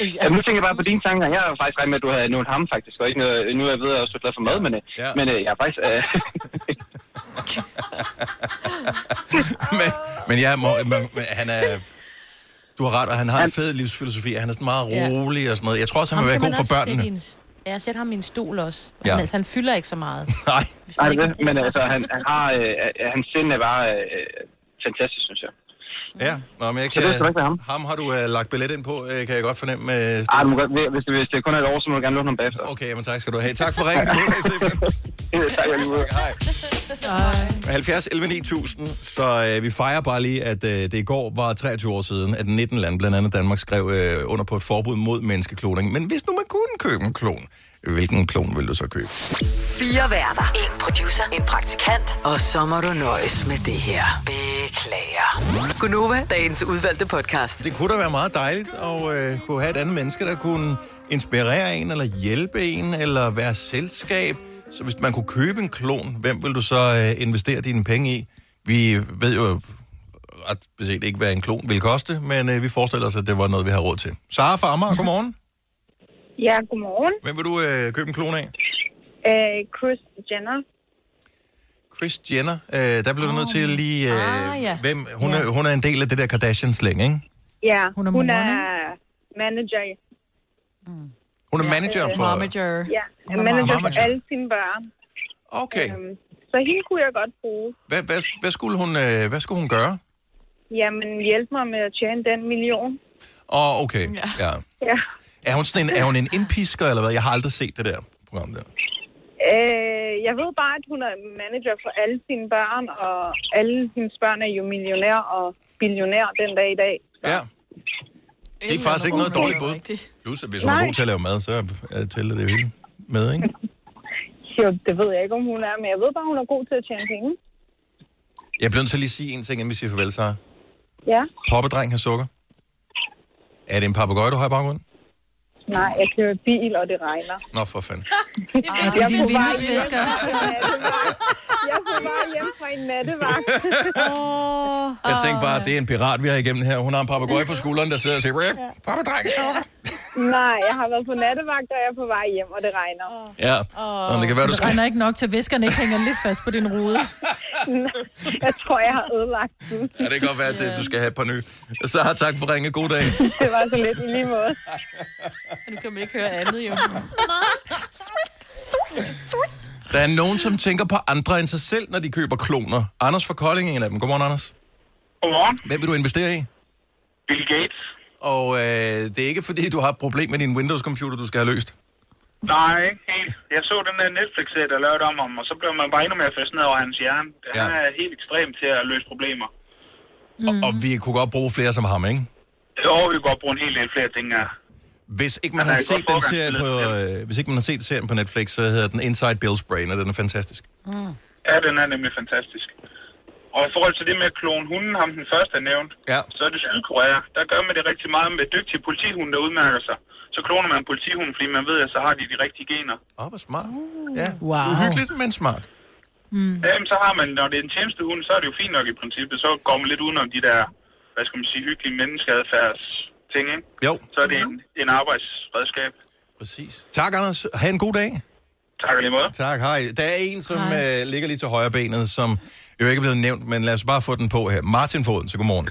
[SPEAKER 18] Ja, Altså, nu tænker jeg bare på dine tanker. Jeg har faktisk regnet med, at du havde nævnt ham faktisk, og ikke noget, nu er jeg ved, at jeg også er glad for mad, ja. men, øh,
[SPEAKER 1] Ja.
[SPEAKER 18] men øh, jeg er faktisk... Øh,
[SPEAKER 1] men, men ja, Mor- men, men, han er... Du har ret, og han har en fed livsfilosofi. og Han er sådan meget
[SPEAKER 2] Ja.
[SPEAKER 1] rolig og sådan noget. Jeg tror også, han
[SPEAKER 2] Ham
[SPEAKER 1] vil være
[SPEAKER 2] kan
[SPEAKER 1] god
[SPEAKER 2] man
[SPEAKER 1] for
[SPEAKER 2] også sætte
[SPEAKER 1] børnene.
[SPEAKER 2] i en- Ja, sæt ham i en stol også.
[SPEAKER 1] Ja.
[SPEAKER 2] Ja. Altså, han fylder ikke så meget.
[SPEAKER 1] Nej.
[SPEAKER 18] Nej, det, er det. men altså, han, han har, øh, øh, hans sind er bare øh, fantastisk, synes jeg.
[SPEAKER 1] Ja, Nå, men jeg
[SPEAKER 18] Så
[SPEAKER 1] kan,
[SPEAKER 18] det skal du ikke være
[SPEAKER 1] ham. ham har du øh, lagt billet ind på, øh, kan jeg godt fornemme. Øh,
[SPEAKER 18] Ej, du må godt, hvis, det, hvis det kun er et år, så må du gerne låne ham bagefter.
[SPEAKER 1] Okay, men tak skal du have. Tak for ringen. God dag, Stefan.
[SPEAKER 18] tak, jeg lige måde.
[SPEAKER 1] Hej. 70 11 9000, så øh, vi fejrer bare lige, at øh, det i går var 23 år siden, at 19 lande, blandt andet Danmark, skrev øh, under på et forbud mod menneskekloning. Men hvis nu man kunne købe en klon, hvilken klon vil du så købe?
[SPEAKER 6] Fire værter. En producer. En praktikant. Og så må du nøjes med det her. Beklager. Gunova, dagens udvalgte podcast.
[SPEAKER 1] Det kunne da være meget dejligt at øh, kunne have et andet menneske, der kunne inspirere en, eller hjælpe en, eller være selskab. Så hvis man kunne købe en klon, hvem vil du så øh, investere dine penge i? Vi ved jo ret beset ikke, hvad en klon vil koste, men øh, vi forestiller os, at det var noget, vi har råd til. Sara fra Amager, godmorgen.
[SPEAKER 19] Ja, godmorgen.
[SPEAKER 1] Hvem vil du øh, købe en klon af?
[SPEAKER 19] Øh, Chris Jenner.
[SPEAKER 1] Chris Jenner. Øh, der blev du nødt til lige... Øh,
[SPEAKER 19] Ah, ja.
[SPEAKER 1] hvem, hun, er, hun er en del af det der Kardashian-slæng, ikke?
[SPEAKER 19] Ja,
[SPEAKER 3] Hun er
[SPEAKER 19] hun
[SPEAKER 3] moren,
[SPEAKER 19] er manager. Øh,
[SPEAKER 1] Hun er manager for...
[SPEAKER 19] Ja,
[SPEAKER 1] Hun er
[SPEAKER 19] manager for
[SPEAKER 1] momager.
[SPEAKER 19] alle sine børn.
[SPEAKER 1] Okay.
[SPEAKER 19] Øhm, så hende kunne jeg godt bruge.
[SPEAKER 1] Hvad, hvad, hvad, skulle hun, øh, hvad skulle hun gøre?
[SPEAKER 19] Jamen, hjælp mig med at tjene den million.
[SPEAKER 1] Åh, oh, okay. Ja. ja.
[SPEAKER 19] Ja.
[SPEAKER 1] Er hun sådan en, er hun en indpisker, eller hvad? Jeg har aldrig set det der program der.
[SPEAKER 19] Øh, jeg ved bare, at hun er manager for alle sine børn, og alle hendes børn er jo millionær og billionær den dag i dag.
[SPEAKER 1] Ja. Det er faktisk ikke noget dårligt bud. Plus, at hvis hun er
[SPEAKER 19] Nej.
[SPEAKER 1] god til at lave mad, så er- tæller det jo hele med, ikke?
[SPEAKER 19] Jo, det ved jeg ikke, om hun er, men jeg ved bare, at hun er god til at tjene penge.
[SPEAKER 1] Jeg bliver nødt til at lige sige en ting, inden vi siger farvel, Sara.
[SPEAKER 19] Ja,
[SPEAKER 1] Poppedreng har sukker. Er det en papegøje, du har i baggrunden?
[SPEAKER 19] nej, jeg kører bil, og det regner.
[SPEAKER 1] Nå, for fanden.
[SPEAKER 19] Ej,
[SPEAKER 10] det er din
[SPEAKER 19] på vej
[SPEAKER 10] vinduesvisker.
[SPEAKER 19] hjem fra en nattevagt. Jeg er på vej hjem fra en nattevagt. oh.
[SPEAKER 1] Jeg tænkte bare, at det er en pirat, vi har igennem her. Hun har en papegøje på skulderen, der sidder og siger, "Rip." Poppedreng sukker.
[SPEAKER 19] Nej, jeg har været på nattevagt, og jeg er på vej hjem, og det regner.
[SPEAKER 1] ja. Nå, men det kan være, du
[SPEAKER 3] Det
[SPEAKER 1] skal...
[SPEAKER 3] regner ikke nok til, at viskerne ikke hænger lidt fast på din rude.
[SPEAKER 19] jeg tror, jeg har ødelagt den.
[SPEAKER 1] Ja, det kan godt være, at det- du skal have et par nye. Så har tak for ringe. God dag.
[SPEAKER 19] Det var så lidt i lige måde.
[SPEAKER 20] Nu kan man ikke høre andet, jo.
[SPEAKER 1] Der er nogen, som tænker på andre end sig selv, når de køber kloner. Anders fra Kolding er en af dem. Godmorgen, Anders.
[SPEAKER 21] Godmorgen.
[SPEAKER 1] Hvem vil du investere i?
[SPEAKER 21] Bill Gates.
[SPEAKER 1] Og øh, det er ikke, fordi du har et problem med din Windows-computer, du skal have løst.
[SPEAKER 21] Nej, ikke helt. Jeg så den der Netflix-serie, der lavede om ham, og så blev man bare endnu mere fascineret over hans hjerne. Han
[SPEAKER 1] Ja.
[SPEAKER 21] er helt ekstrem til at løse problemer.
[SPEAKER 1] Mm. Og vi kunne godt bruge flere som ham, ikke?
[SPEAKER 21] Jo, vi kan godt bruge en hel del flere ting her.
[SPEAKER 1] Hvis ikke man har set den serie på, øh, hvis ikke man har set serien på Netflix, så hedder den Inside Bill's Brain, og den er fantastisk.
[SPEAKER 21] Mm. Ja, den er nemlig fantastisk. Og i forhold til det med at klone hunden, ham den første er nævnt,
[SPEAKER 1] ja.
[SPEAKER 21] så er det Sydkorea. Der gør man det rigtig meget med dygtige politihunde, der udmærker sig. Så kloner man politihunden, fordi man ved, at så har de de rigtige gener.
[SPEAKER 1] Åh, oh, hvor smart. Ja, wow. uhyggeligt, men smart.
[SPEAKER 21] Mm. Jamen, så har man, når det er en tjenestehund, så er det jo fint nok i princippet. Så går man lidt udenom de der, hvad skal man sige, hyggelige menneskeadfærds ting, ikke?
[SPEAKER 1] Jo.
[SPEAKER 21] Så er det en, en arbejdsredskab.
[SPEAKER 1] Præcis. Tak, Anders. Ha' en god dag.
[SPEAKER 21] Tak lige måde.
[SPEAKER 1] Tak, hej. Der er en, som øh, ligger lige til højre benet, som jo ikke er blevet nævnt, men lad os bare få den på her. Martin Foden, så godmorgen.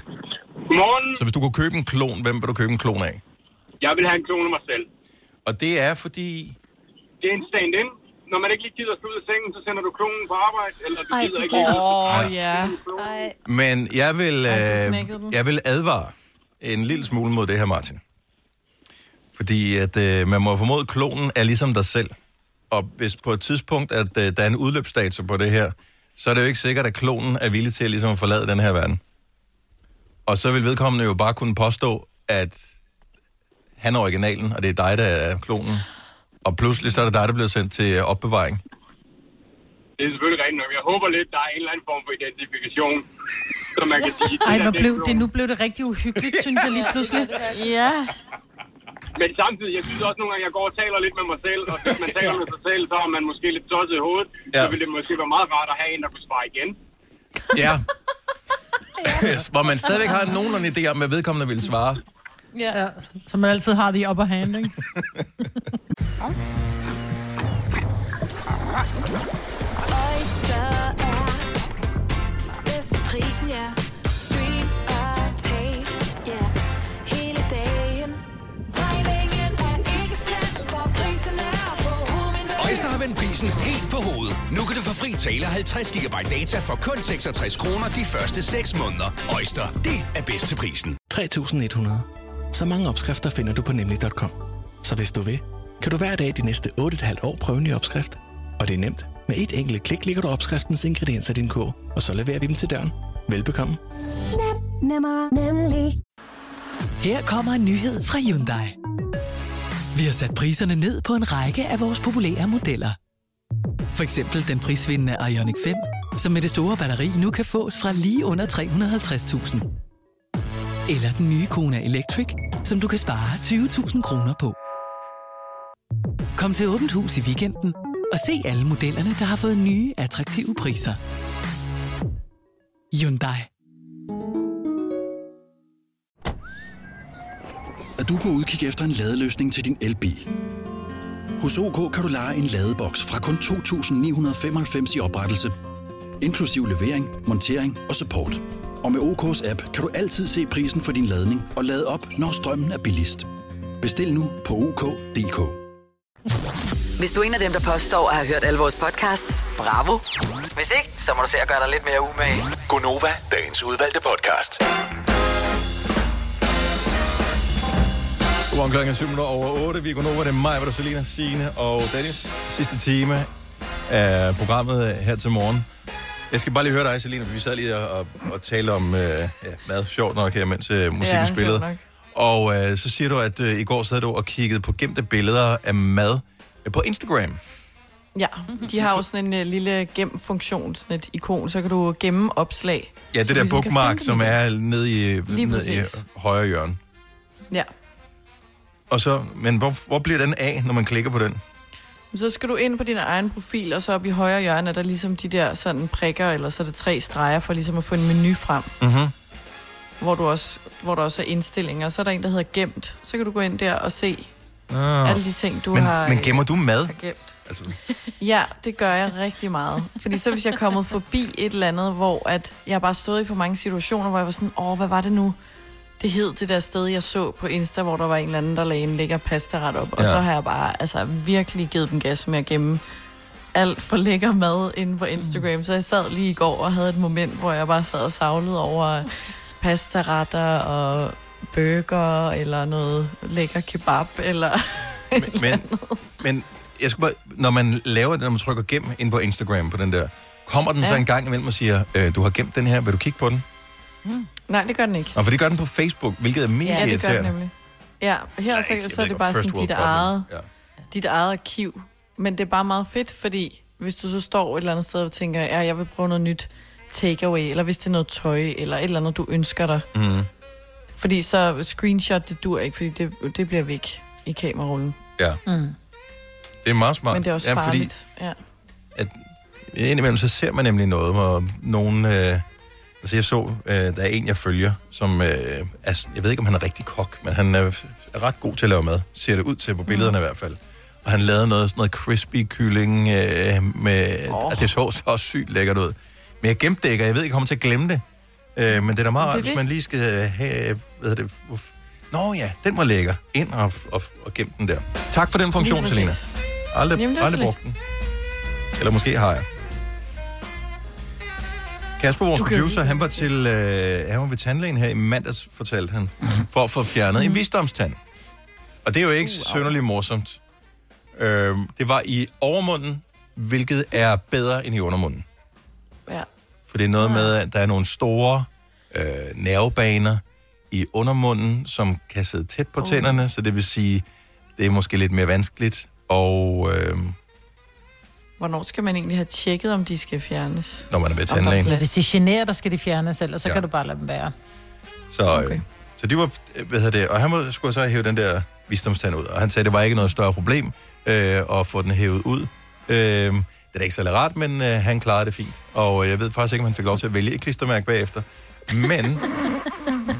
[SPEAKER 9] Godmorgen.
[SPEAKER 1] Så hvis du kunne købe en klon, hvem vil du købe en klon af?
[SPEAKER 9] Jeg vil have en klone af mig selv.
[SPEAKER 1] Og det er fordi...
[SPEAKER 9] Det er en stand-in. Når man ikke lige gider at slå ud af sengen, så sender du klonen på arbejde, eller du
[SPEAKER 5] Ej,
[SPEAKER 9] gider
[SPEAKER 5] du-
[SPEAKER 9] ikke lige...
[SPEAKER 5] Åh,
[SPEAKER 9] ja.
[SPEAKER 1] Men jeg vil, øh,
[SPEAKER 5] knækkede den.
[SPEAKER 1] jeg vil advare en lille smule mod det her, Martin. Fordi at øh, man må formode, at klonen er ligesom dig selv. Og hvis på et tidspunkt, at øh, der er en udløbsdato på det her, så er det jo ikke sikkert, at klonen er villig til at ligesom at forlade den her verden. Og så vil vedkommende jo bare kunne påstå, at han er originalen, og det er dig, der er klonen. Og pludselig så er det dig, der bliver sendt til øh, opbevaring.
[SPEAKER 9] Det er selvfølgelig rigtigt nok. Jeg håber lidt, der er en eller anden form for identifikation, som man kan sige.
[SPEAKER 3] Ej,
[SPEAKER 9] der,
[SPEAKER 3] hvor
[SPEAKER 9] det er
[SPEAKER 3] blev
[SPEAKER 9] klonen.
[SPEAKER 3] det, nu blev det rigtig uhyggeligt, synes jeg lige pludselig. Ja.
[SPEAKER 9] Men samtidig, jeg synes også nogle gange, jeg går og taler lidt med mig selv, og hvis man taler med sig selv, så er man måske lidt tosset i hovedet, ja. så ville det måske være meget rart at have en, der kunne svare igen.
[SPEAKER 1] Ja. Hvor man stadigvæk har nogenlunde idé om, hvad vedkommende vil svare.
[SPEAKER 3] Ja. ja. Så man altid har det i upper hand, ikke?
[SPEAKER 10] Oyster er bedst til prisen, ja. Stream og tag, ja. Hele dagen. Regningen er ikke slem, for prisen er på hovedet.
[SPEAKER 13] Øjster har vendt prisen helt på hovedet. Nu kan du få fri tale 50 GB data for kun 66 kroner de første 6 måneder. Øjster, det er bedst til prisen.
[SPEAKER 14] 3.100. Så mange opskrifter finder du på nemlig.com. Så hvis du vil, kan du hver dag de næste 8,5 år prøve en ny opskrift. Og det er nemt. Med et enkelt klik ligger du opskriftens ingredienser i din kog, og så leverer vi dem til døren. Velbekomme.
[SPEAKER 10] Nem, nemmer, nemlig.
[SPEAKER 15] Her kommer en nyhed fra Hyundai. Vi har sat priserne ned på en række af vores populære modeller. For eksempel den prisvindende Ioniq 5, som med det store batteri nu kan fås fra lige under 350.000. Eller den nye Kona Electric, som du kan spare 20.000 kroner på. Kom til Åbent Hus i weekenden og se alle modellerne, der har fået nye, attraktive priser. Hyundai.
[SPEAKER 16] Er du på udkig efter en ladeløsning til din elbil? Hos OK kan du lege en ladeboks fra kun 2.995 i oprettelse, inklusiv levering, montering og support. Og med OK's app kan du altid se prisen for din ladning og lade op, når strømmen er billigst. Bestil nu på OK.dk.
[SPEAKER 6] Hvis du er en af dem, der påstår at have hørt alle vores podcasts, bravo. Hvis ikke, så må du se at gøre dig lidt mere umage.
[SPEAKER 13] Gonova, dagens udvalgte podcast.
[SPEAKER 1] Godmorgen klokken er syv minutter over 8. Vi er gået over det er mig, hvor der Selina, Signe og Dennis. Sidste time af programmet her til morgen. Jeg skal bare lige høre dig, Selina, for vi sad lige og, og, og talte om øh, ja, mad, sjovt nok her, mens øh, musikken
[SPEAKER 5] Ja,
[SPEAKER 1] ja,
[SPEAKER 5] sjovt
[SPEAKER 1] spillede.
[SPEAKER 5] nok.
[SPEAKER 1] Og øh, så siger du, at øh, i går sad du og kiggede på gemte billeder af mad øh, på Instagram.
[SPEAKER 5] Ja, de har jo sådan en øh, lille gem-funktion, sådan et ikon, så kan du gemme opslag.
[SPEAKER 1] Ja, det
[SPEAKER 5] så
[SPEAKER 1] der
[SPEAKER 5] ligesom kan
[SPEAKER 1] bookmark,
[SPEAKER 5] finde
[SPEAKER 1] som
[SPEAKER 5] dem.
[SPEAKER 1] er nede i,
[SPEAKER 5] Lige
[SPEAKER 1] nede i
[SPEAKER 5] præcis.
[SPEAKER 1] højre hjørne.
[SPEAKER 5] Ja,
[SPEAKER 1] Og så, men hvor, hvor bliver den af, når man klikker på den?
[SPEAKER 5] så skal du ind på din egen profil, og så op i højre hjørne er der ligesom de der sådan prikker, eller så er det tre streger for ligesom at få en menu frem,
[SPEAKER 1] Mm-hmm.
[SPEAKER 5] hvor, du også, hvor der også er indstillinger. Så er der en, der hedder gemt. Så kan du gå ind der og se
[SPEAKER 1] Ah.
[SPEAKER 5] alle de ting, du
[SPEAKER 1] men,
[SPEAKER 5] har...
[SPEAKER 1] Men
[SPEAKER 5] øh,
[SPEAKER 1] gemmer du mad?
[SPEAKER 5] har gemt.
[SPEAKER 1] Altså,
[SPEAKER 5] Ja, det gør jeg rigtig meget. Fordi så hvis jeg er kommet forbi et eller andet, hvor at jeg har bare stået i for mange situationer, hvor jeg var sådan, åh, hvad var det nu? Det hed det der sted, jeg så på Insta, hvor der var en eller anden, der lagde en lækker pasta ret op. Og
[SPEAKER 1] Ja.
[SPEAKER 5] så har jeg bare altså, virkelig givet dem gas med at gemme alt for lækker mad inde på Instagram. Så jeg sad lige i går og havde et moment, hvor jeg bare sad og savlede over pastaretter og burger eller noget lækker kebab eller...
[SPEAKER 1] men, men jeg skulle bare, når man laver det, når man trykker gem ind på Instagram på den der, kommer den ja. så
[SPEAKER 5] Ja.
[SPEAKER 1] en gang imellem og siger, øh, du har gemt den her, vil du kigge på den?
[SPEAKER 5] Nej, det gør den ikke.
[SPEAKER 1] Mm. Nå, for det gør den på Facebook, hvilket er mega
[SPEAKER 5] ja, det gør det
[SPEAKER 1] irriterende.
[SPEAKER 5] nemlig. Ja, her så, så er det bare
[SPEAKER 1] First
[SPEAKER 5] sådan
[SPEAKER 1] world
[SPEAKER 5] dit
[SPEAKER 1] problem.
[SPEAKER 5] eget, ja. dit eget arkiv. Men det er bare meget fedt, fordi hvis du så står et eller andet sted og tænker, ja, jeg vil prøve noget nyt takeaway, eller hvis det er noget tøj, eller et eller andet, du ønsker dig.
[SPEAKER 22] Mm-hmm.
[SPEAKER 1] Mm.
[SPEAKER 5] Fordi så screenshot, det dur ikke, fordi det, det bliver væk i kamerarullen.
[SPEAKER 1] Ja,
[SPEAKER 5] Mm.
[SPEAKER 1] det er meget smart.
[SPEAKER 5] Men det er også
[SPEAKER 1] ja,
[SPEAKER 5] farligt. Ja.
[SPEAKER 1] indimellem så ser man nemlig noget, hvor nogen... Øh, altså jeg så, øh, der er en, jeg følger, som øh, er, sådan- jeg ved ikke, om han er rigtig kok, men han er, er ret god til at lave mad. Ser det ud til på
[SPEAKER 5] Mm.
[SPEAKER 1] billederne i hvert fald. Og han lavede noget, sådan noget crispy kylling øh, med... Oh. Altså, det så så sygt lækkert ud. Men jeg gemte det ikke, og jeg ved ikke, om jeg kommer til at glemme det. Øh, men det er da meget
[SPEAKER 5] Det er
[SPEAKER 1] rart, hvis
[SPEAKER 5] det.
[SPEAKER 1] man lige skal øh, have... Hvad hedder det? Uff. Nå ja, den var lækker. Ind og, og, og gem den der. Tak for den funktion,
[SPEAKER 5] Lige
[SPEAKER 1] Selina.
[SPEAKER 5] præcis.
[SPEAKER 1] Aldrig,
[SPEAKER 5] Jamen, det var så
[SPEAKER 1] aldrig
[SPEAKER 5] lidt.
[SPEAKER 1] brugt den. Eller måske har jeg. Kasper, vores producer, han var til øh, han var ved tandlægen her i mandags, fortalte han, for at få fjernet
[SPEAKER 5] Mhm.
[SPEAKER 1] en visdomstand. Og det er jo ikke uh, synderligt morsomt. Øh, det var i overmunden, hvilket er bedre end i undermunden.
[SPEAKER 5] Ja.
[SPEAKER 1] For det er noget med, at der er nogle store øh, nervebaner i undermunden, som kan sidde tæt på tænderne, så det vil sige, det er måske lidt mere vanskeligt. Og øh,
[SPEAKER 5] Hvornår skal man egentlig have tjekket, om de skal fjernes?
[SPEAKER 1] når man er ved
[SPEAKER 5] Om der er
[SPEAKER 1] tandlægen.
[SPEAKER 3] Hvis de generer dig, skal de fjernes, ellers så kan du bare lade dem være.
[SPEAKER 1] Så, okay. øh, så de var, øh, hvad hedder det, og han var, skulle så hæve den der visdomstand ud, og han sagde, det var ikke noget større problem øh, at få den hævet ud. Øh, det er da ikke så rart, men øh, han klarede det fint, og øh, jeg ved faktisk ikke, om han fik lov til at vælge et klistermærke bagefter. Men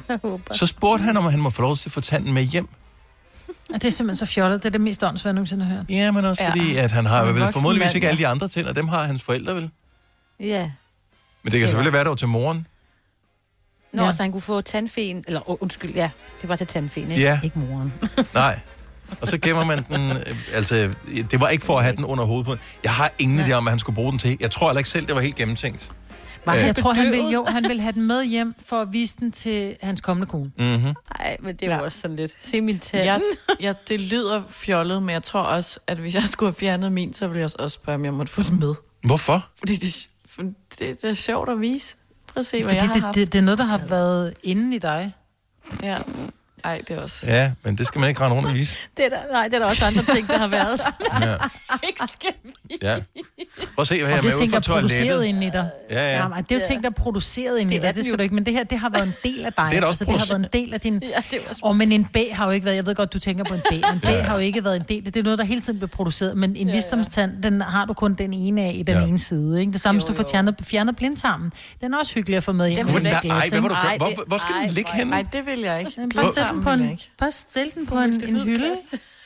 [SPEAKER 3] Jeg håber.
[SPEAKER 1] så spurgte han, om han må få lov til at få tanden med hjem,
[SPEAKER 3] Og det er simpelthen så fjollet. Det er det mest åndsværende, jeg nogensinde har hørt.
[SPEAKER 1] Ja, men også fordi at han har vel formodentligvis ikke alle
[SPEAKER 3] ja.
[SPEAKER 1] de andre tænder, dem har hans forældre vel.
[SPEAKER 2] Ja.
[SPEAKER 1] Men det kan selvfølgelig være der var til moren.
[SPEAKER 2] Nå,
[SPEAKER 3] Ja.
[SPEAKER 2] ja. så han kunne få tandfen, eller uh, undskyld, ja, det var til tandfen, ikke?
[SPEAKER 1] Ja.
[SPEAKER 2] Ikke moren.
[SPEAKER 1] Nej. Og så gemmer man den, øh, altså, det var ikke for at have den under hovedet på. Jeg har ingen idé om, hvad han skulle bruge den til. Jeg tror heller ikke selv, det var helt gennemtænkt.
[SPEAKER 3] Var han,
[SPEAKER 1] Øh,
[SPEAKER 3] jeg tror, han vil, jo, han vil have den med hjem for at vise den til hans kommende kone.
[SPEAKER 1] Mhm.
[SPEAKER 2] Nej, men det var ja. også sådan lidt. Se min tand.
[SPEAKER 5] Jeg, jeg, det lyder fjollet, men jeg tror også, at hvis jeg skulle have fjernet min, så ville jeg også spørge, om jeg måtte få den med.
[SPEAKER 1] Hvorfor?
[SPEAKER 5] Fordi det, for det, det er sjovt at vise. Prøv at se, hvad
[SPEAKER 3] Fordi
[SPEAKER 5] jeg har
[SPEAKER 3] det,
[SPEAKER 5] haft.
[SPEAKER 3] det, det, er noget, der har været inde i dig.
[SPEAKER 5] Ja. Ej, det er også...
[SPEAKER 1] Ja, men det skal man ikke rende rundt og vise.
[SPEAKER 2] Det er der, nej, det er der også andre ting, der har været.
[SPEAKER 1] Ja.
[SPEAKER 2] Ikke skal
[SPEAKER 1] Ja. Prøv at se, hvad
[SPEAKER 3] Og
[SPEAKER 1] jeg
[SPEAKER 3] det
[SPEAKER 1] er
[SPEAKER 3] er
[SPEAKER 1] med ud
[SPEAKER 3] ting, der
[SPEAKER 1] fra
[SPEAKER 3] er produceret
[SPEAKER 1] toilettet.
[SPEAKER 3] ind i dig.
[SPEAKER 1] Ja, ja.
[SPEAKER 3] Jamen, det er jo ting, der er produceret ind i dig. Det skal du ikke, men det her, det har været en del af dig. altså,
[SPEAKER 1] Det er da også
[SPEAKER 3] det har
[SPEAKER 1] produ-
[SPEAKER 3] været en del af din... ja, det var og, men en B har jo ikke været... Jeg ved godt, du tænker på en B. En B
[SPEAKER 1] Ja.
[SPEAKER 3] ja. har jo ikke været en del. Det er noget, der hele tiden bliver produceret. Men en ja, visdomstand, den har du kun den ene af i den ja. ene side. Ikke? Det samme, hvis du får fjernet, fjernet blindtarmen. Den er også hyggelig at få med hjem.
[SPEAKER 1] Den vil jeg ikke. Nej, hvad vil du gøre? Hvor- hvor- hvor skal den ligge henne?
[SPEAKER 5] Nej, det vil jeg ikke.
[SPEAKER 3] Bare stil den på
[SPEAKER 5] Blindtarmen vil jeg
[SPEAKER 3] en, bare stil den på en, en hylde.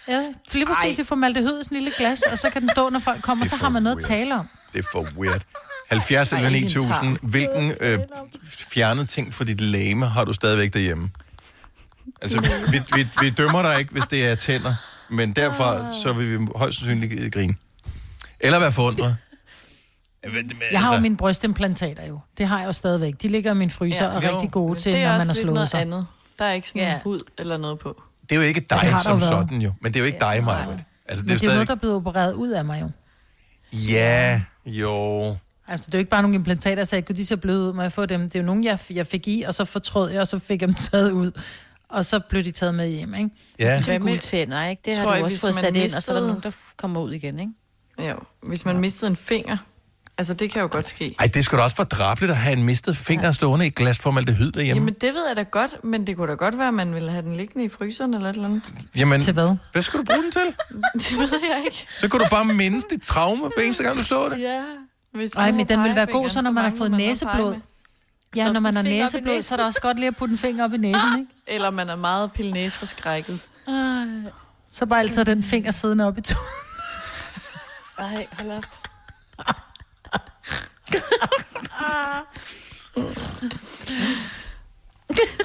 [SPEAKER 3] Ja, lige præcis i formaldehyd i sådan en lille glas, og så kan den stå, når folk kommer, så har man noget at tale om.
[SPEAKER 1] Det er for weird. 70 eller 9000. Hvilken øh, fjernet ting fra dit lame har du stadigvæk derhjemme? Altså,
[SPEAKER 3] Mm.
[SPEAKER 1] vi, vi, vi dømmer dig ikke, hvis det er tænder, men
[SPEAKER 3] Ah.
[SPEAKER 1] derfra så vil vi højst sandsynligt øh, grine. Eller være forundret. Jeg, ved det, men
[SPEAKER 3] Jeg har jo
[SPEAKER 1] altså-
[SPEAKER 3] mine brystimplantater jo. Det har jeg jo stadigvæk. De ligger i min fryser
[SPEAKER 5] Ja.
[SPEAKER 3] og
[SPEAKER 5] Jo.
[SPEAKER 3] er rigtig gode
[SPEAKER 5] Men
[SPEAKER 3] til,
[SPEAKER 5] det er
[SPEAKER 3] når
[SPEAKER 5] også
[SPEAKER 3] man har
[SPEAKER 5] lidt
[SPEAKER 3] slået
[SPEAKER 5] noget
[SPEAKER 3] sig.
[SPEAKER 5] andet. Der er ikke sådan en
[SPEAKER 3] Ja.
[SPEAKER 5] hud eller noget på.
[SPEAKER 1] Det er jo ikke
[SPEAKER 3] har
[SPEAKER 1] dig
[SPEAKER 3] der
[SPEAKER 1] som
[SPEAKER 3] jo været.
[SPEAKER 1] sådan jo, men det er jo ikke dig, Maja. Altså,
[SPEAKER 3] Men det
[SPEAKER 1] det er jo
[SPEAKER 3] er noget,
[SPEAKER 1] stadig...
[SPEAKER 3] der er blevet opereret ud af mig jo.
[SPEAKER 1] Ja, jo.
[SPEAKER 3] Altså, det er jo ikke bare nogle implantater, jeg sagde, gud, de ser bløde ud, må jeg få dem? Det er jo nogle, jeg, jeg fik i, og så fortrød jeg, og så fik jeg dem taget ud. Og så blev de taget med hjem, ikke?
[SPEAKER 1] Ja.
[SPEAKER 2] Hvad med tænder, ikke? Det har
[SPEAKER 5] Tror
[SPEAKER 2] du
[SPEAKER 5] I,
[SPEAKER 2] også
[SPEAKER 5] hvis
[SPEAKER 2] fået
[SPEAKER 5] man
[SPEAKER 2] sat ind, og så er der
[SPEAKER 5] mistede-
[SPEAKER 2] nogen, der kommer ud igen, ikke?
[SPEAKER 5] Jo, hvis man mistede en finger. Altså, det kan jo godt ske.
[SPEAKER 1] Ej, det skulle da også være drabligt at have en mistet finger stående i et glas formaldehyd derhjemme.
[SPEAKER 5] Jamen, det ved jeg da godt, men det kunne da godt være, at man ville have den liggende i fryseren eller et eller andet.
[SPEAKER 1] Jamen,
[SPEAKER 5] Til hvad?
[SPEAKER 1] Hvad skulle du bruge den til?
[SPEAKER 5] Det ved jeg ikke.
[SPEAKER 1] Så kunne du bare mindes dit traume, hver eneste gang du så det.
[SPEAKER 5] Ja. Hvis
[SPEAKER 3] Ej,
[SPEAKER 5] man
[SPEAKER 3] men
[SPEAKER 5] har
[SPEAKER 3] den vil være god,
[SPEAKER 5] pegefingeren,
[SPEAKER 3] så når man har
[SPEAKER 5] mangler
[SPEAKER 3] fået
[SPEAKER 5] noget at
[SPEAKER 3] næseblod.
[SPEAKER 5] pege med.
[SPEAKER 3] Ja,
[SPEAKER 5] Stop
[SPEAKER 3] når
[SPEAKER 5] sådan
[SPEAKER 3] man
[SPEAKER 5] en
[SPEAKER 3] har
[SPEAKER 5] finger op i
[SPEAKER 3] næseblod, så er det
[SPEAKER 5] næsen.
[SPEAKER 3] også godt lige at putte en finger op i næsen, ikke?
[SPEAKER 5] Eller man er meget pille næseforskrækket.
[SPEAKER 3] Så bare altid den finger siddende op i to.
[SPEAKER 5] Ej, hold op.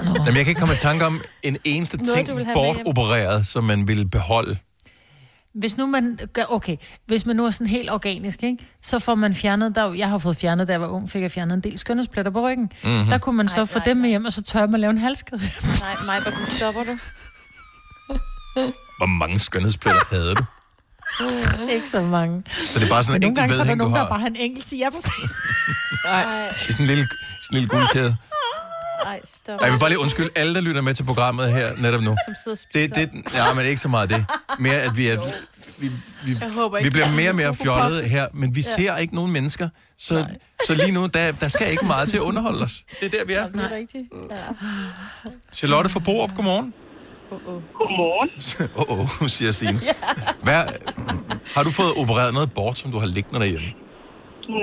[SPEAKER 1] Jamen, jeg kan ikke komme i tanke om en eneste
[SPEAKER 3] Noget,
[SPEAKER 1] ting
[SPEAKER 3] du vil have med hjem.
[SPEAKER 1] bortopereret, som man ville beholde.
[SPEAKER 3] Hvis nu man gør, okay, hvis man nu er sådan helt organisk, ikke? så får man fjernet, der, er jo- jeg har fået fjernet, da jeg var ung, fik jeg fjernet en del skønhedspletter på ryggen.
[SPEAKER 2] Mhm.
[SPEAKER 3] Mm-hmm. Der kunne man så
[SPEAKER 2] Ej,
[SPEAKER 3] få
[SPEAKER 2] nej,
[SPEAKER 3] dem med hjem, og så tørre man lave en halskæde.
[SPEAKER 2] Nej, mig, hvor stopper du?
[SPEAKER 1] Hvor mange skønhedspletter havde du?
[SPEAKER 3] Ikke så mange.
[SPEAKER 1] Så det er bare sådan en
[SPEAKER 3] Men nogle
[SPEAKER 1] enkelt
[SPEAKER 3] gange, så er der
[SPEAKER 1] vedhæng, du
[SPEAKER 3] nogen,
[SPEAKER 1] har.
[SPEAKER 3] der bare har en enkelt til jer på
[SPEAKER 5] Nej.
[SPEAKER 1] I sådan en lille, sådan en lille guldkæde.
[SPEAKER 2] Nej, stop.
[SPEAKER 1] Ej, Jeg vil bare lige undskylde alle, der lytter med til programmet her netop nu.
[SPEAKER 2] Som sidder og
[SPEAKER 1] Det, det, ja, men ikke så meget det. Mere, at vi, er, vi, vi,
[SPEAKER 5] Jeg håber
[SPEAKER 1] vi
[SPEAKER 5] ikke,
[SPEAKER 1] bliver
[SPEAKER 5] at-
[SPEAKER 1] mere og mere
[SPEAKER 5] Coco
[SPEAKER 1] fjollede
[SPEAKER 5] Pops.
[SPEAKER 1] her, men vi
[SPEAKER 5] Ja.
[SPEAKER 1] ser ikke nogen mennesker. Så, så lige nu, der, der skal ikke meget til at underholde os. Det er der, vi er.
[SPEAKER 5] Det er rigtigt. Ja.
[SPEAKER 1] Charlotte fra Borup, godmorgen.
[SPEAKER 22] Godmorgen.
[SPEAKER 1] Åh, oh, oh, siger Signe. Hvad, har du fået opereret noget bort, som du har liggende derhjemme?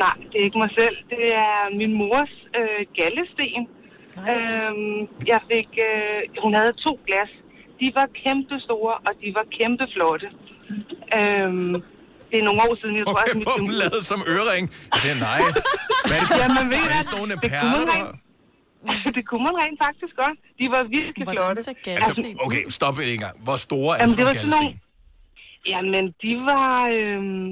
[SPEAKER 22] Nej, det er ikke mig selv. Det er min mors øh, gallesten. Øhm, jeg fik, øh, hun havde to glas. De var kæmpe store, og de var kæmpe flotte. Øhm, det er nogle år siden, jeg tror,
[SPEAKER 1] Okay,
[SPEAKER 22] at mit
[SPEAKER 1] hvor er den lavet som ørering? Jeg siger, nej. Hvad er det for,
[SPEAKER 22] Jamen, ved
[SPEAKER 1] hvad
[SPEAKER 22] du
[SPEAKER 1] er det
[SPEAKER 22] hvad?
[SPEAKER 1] sådan nogle
[SPEAKER 22] Det kunne
[SPEAKER 1] perler,
[SPEAKER 22] man
[SPEAKER 1] du
[SPEAKER 22] rent-
[SPEAKER 1] har?
[SPEAKER 22] det kunne man rent faktisk godt. De var virkelig flotte.
[SPEAKER 1] Altså, okay, stop en gang. Hvor store er
[SPEAKER 22] Jamen, det
[SPEAKER 1] sådan
[SPEAKER 22] var sådan
[SPEAKER 1] nogle galdesten?
[SPEAKER 22] nogle... Jamen, de var... Øhm,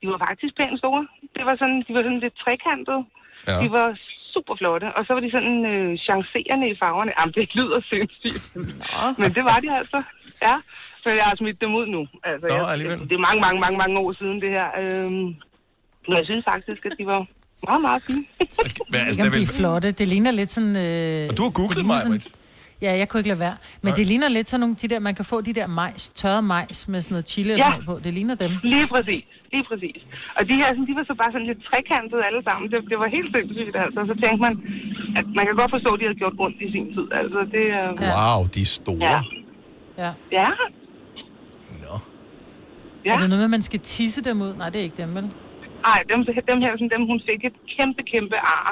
[SPEAKER 22] de var faktisk pænt store. Det var sådan, de var sådan lidt trekantede.
[SPEAKER 1] Ja.
[SPEAKER 22] Ja. De var super flotte. Og så var de sådan øh, chancerende i farverne. Jamen, det lyder sindssygt. Men det var de altså. Ja. Så jeg har smidt dem ud nu. Altså,
[SPEAKER 1] Nå,
[SPEAKER 22] jeg,
[SPEAKER 1] alligevel.
[SPEAKER 22] det er mange, mange, mange, mange år siden, det her. Øhm, men jeg synes faktisk, at de var meget, meget fine.
[SPEAKER 1] Hvad, altså,
[SPEAKER 3] Jamen,
[SPEAKER 1] der
[SPEAKER 3] de er
[SPEAKER 1] vil...
[SPEAKER 3] flotte. Det ligner lidt sådan... Øh,
[SPEAKER 1] Og du har
[SPEAKER 3] det
[SPEAKER 1] googlet
[SPEAKER 3] ligner
[SPEAKER 1] mig,
[SPEAKER 3] sådan-
[SPEAKER 1] Britt.
[SPEAKER 3] Ja, jeg kunne ikke lade være. Men
[SPEAKER 1] Nej.
[SPEAKER 3] det ligner lidt sådan nogle, de der, man kan få de der majs, tørrede majs med sådan noget chili ja.
[SPEAKER 22] Ja.
[SPEAKER 3] og sådan noget på. Det ligner dem.
[SPEAKER 22] Lige præcis, lige præcis. Og de her, sådan, de var så bare sådan lidt trekantede alle sammen. Det, det var helt sindssygt, altså. Så tænkte man, at man kan godt forstå, at de havde gjort ondt i sin tid. Altså, det... Øh,
[SPEAKER 1] Wow, de er store.
[SPEAKER 22] Ja.
[SPEAKER 3] Ja.
[SPEAKER 22] ja.
[SPEAKER 3] ja. Er det noget med, at man skal tisse dem ud? Nej, det er ikke dem, vel?
[SPEAKER 22] Ej, dem, dem her, sådan, dem, hun fik et kæmpe, kæmpe ar.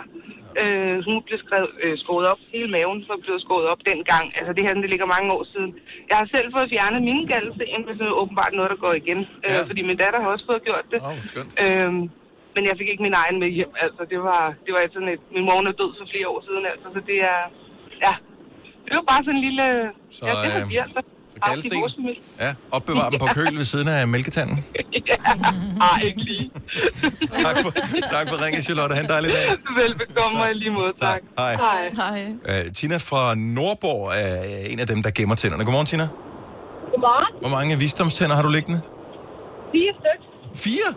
[SPEAKER 22] Øh, hun blev skrevet, øh, skåret op. Hele maven var blevet skåret op dengang. Altså, det her, sådan, det ligger mange år siden. Jeg har selv fået fjernet mine galdesten, men det er åbenbart noget, der går igen. Øh, fordi min datter har også fået gjort det.
[SPEAKER 1] Oh,
[SPEAKER 22] øhm, men jeg fik ikke min egen med hjem. Altså, det var, det var et sådan et... Min mor hun er død for flere år siden, altså. Så det er... Ja, det var bare sådan en lille...
[SPEAKER 1] Så,
[SPEAKER 22] ja, det var
[SPEAKER 1] øh,
[SPEAKER 22] de altså.
[SPEAKER 1] galdesten. Ja, opbevar dem på køl ved siden af mælketanden.
[SPEAKER 22] Ej, ikke lige.
[SPEAKER 1] tak, for, tak for ringen, Charlotte. Ha' en dejlig dag.
[SPEAKER 22] Velbekomme og i lige måde, tak.
[SPEAKER 1] Hej.
[SPEAKER 5] Hej.
[SPEAKER 1] Uh, Tina fra Nordborg er en af dem, der gemmer tænderne. Godmorgen, Tina.
[SPEAKER 23] Godmorgen.
[SPEAKER 1] Hvor mange visdomstænder har du liggende?
[SPEAKER 23] Fire stykker.
[SPEAKER 1] Fire?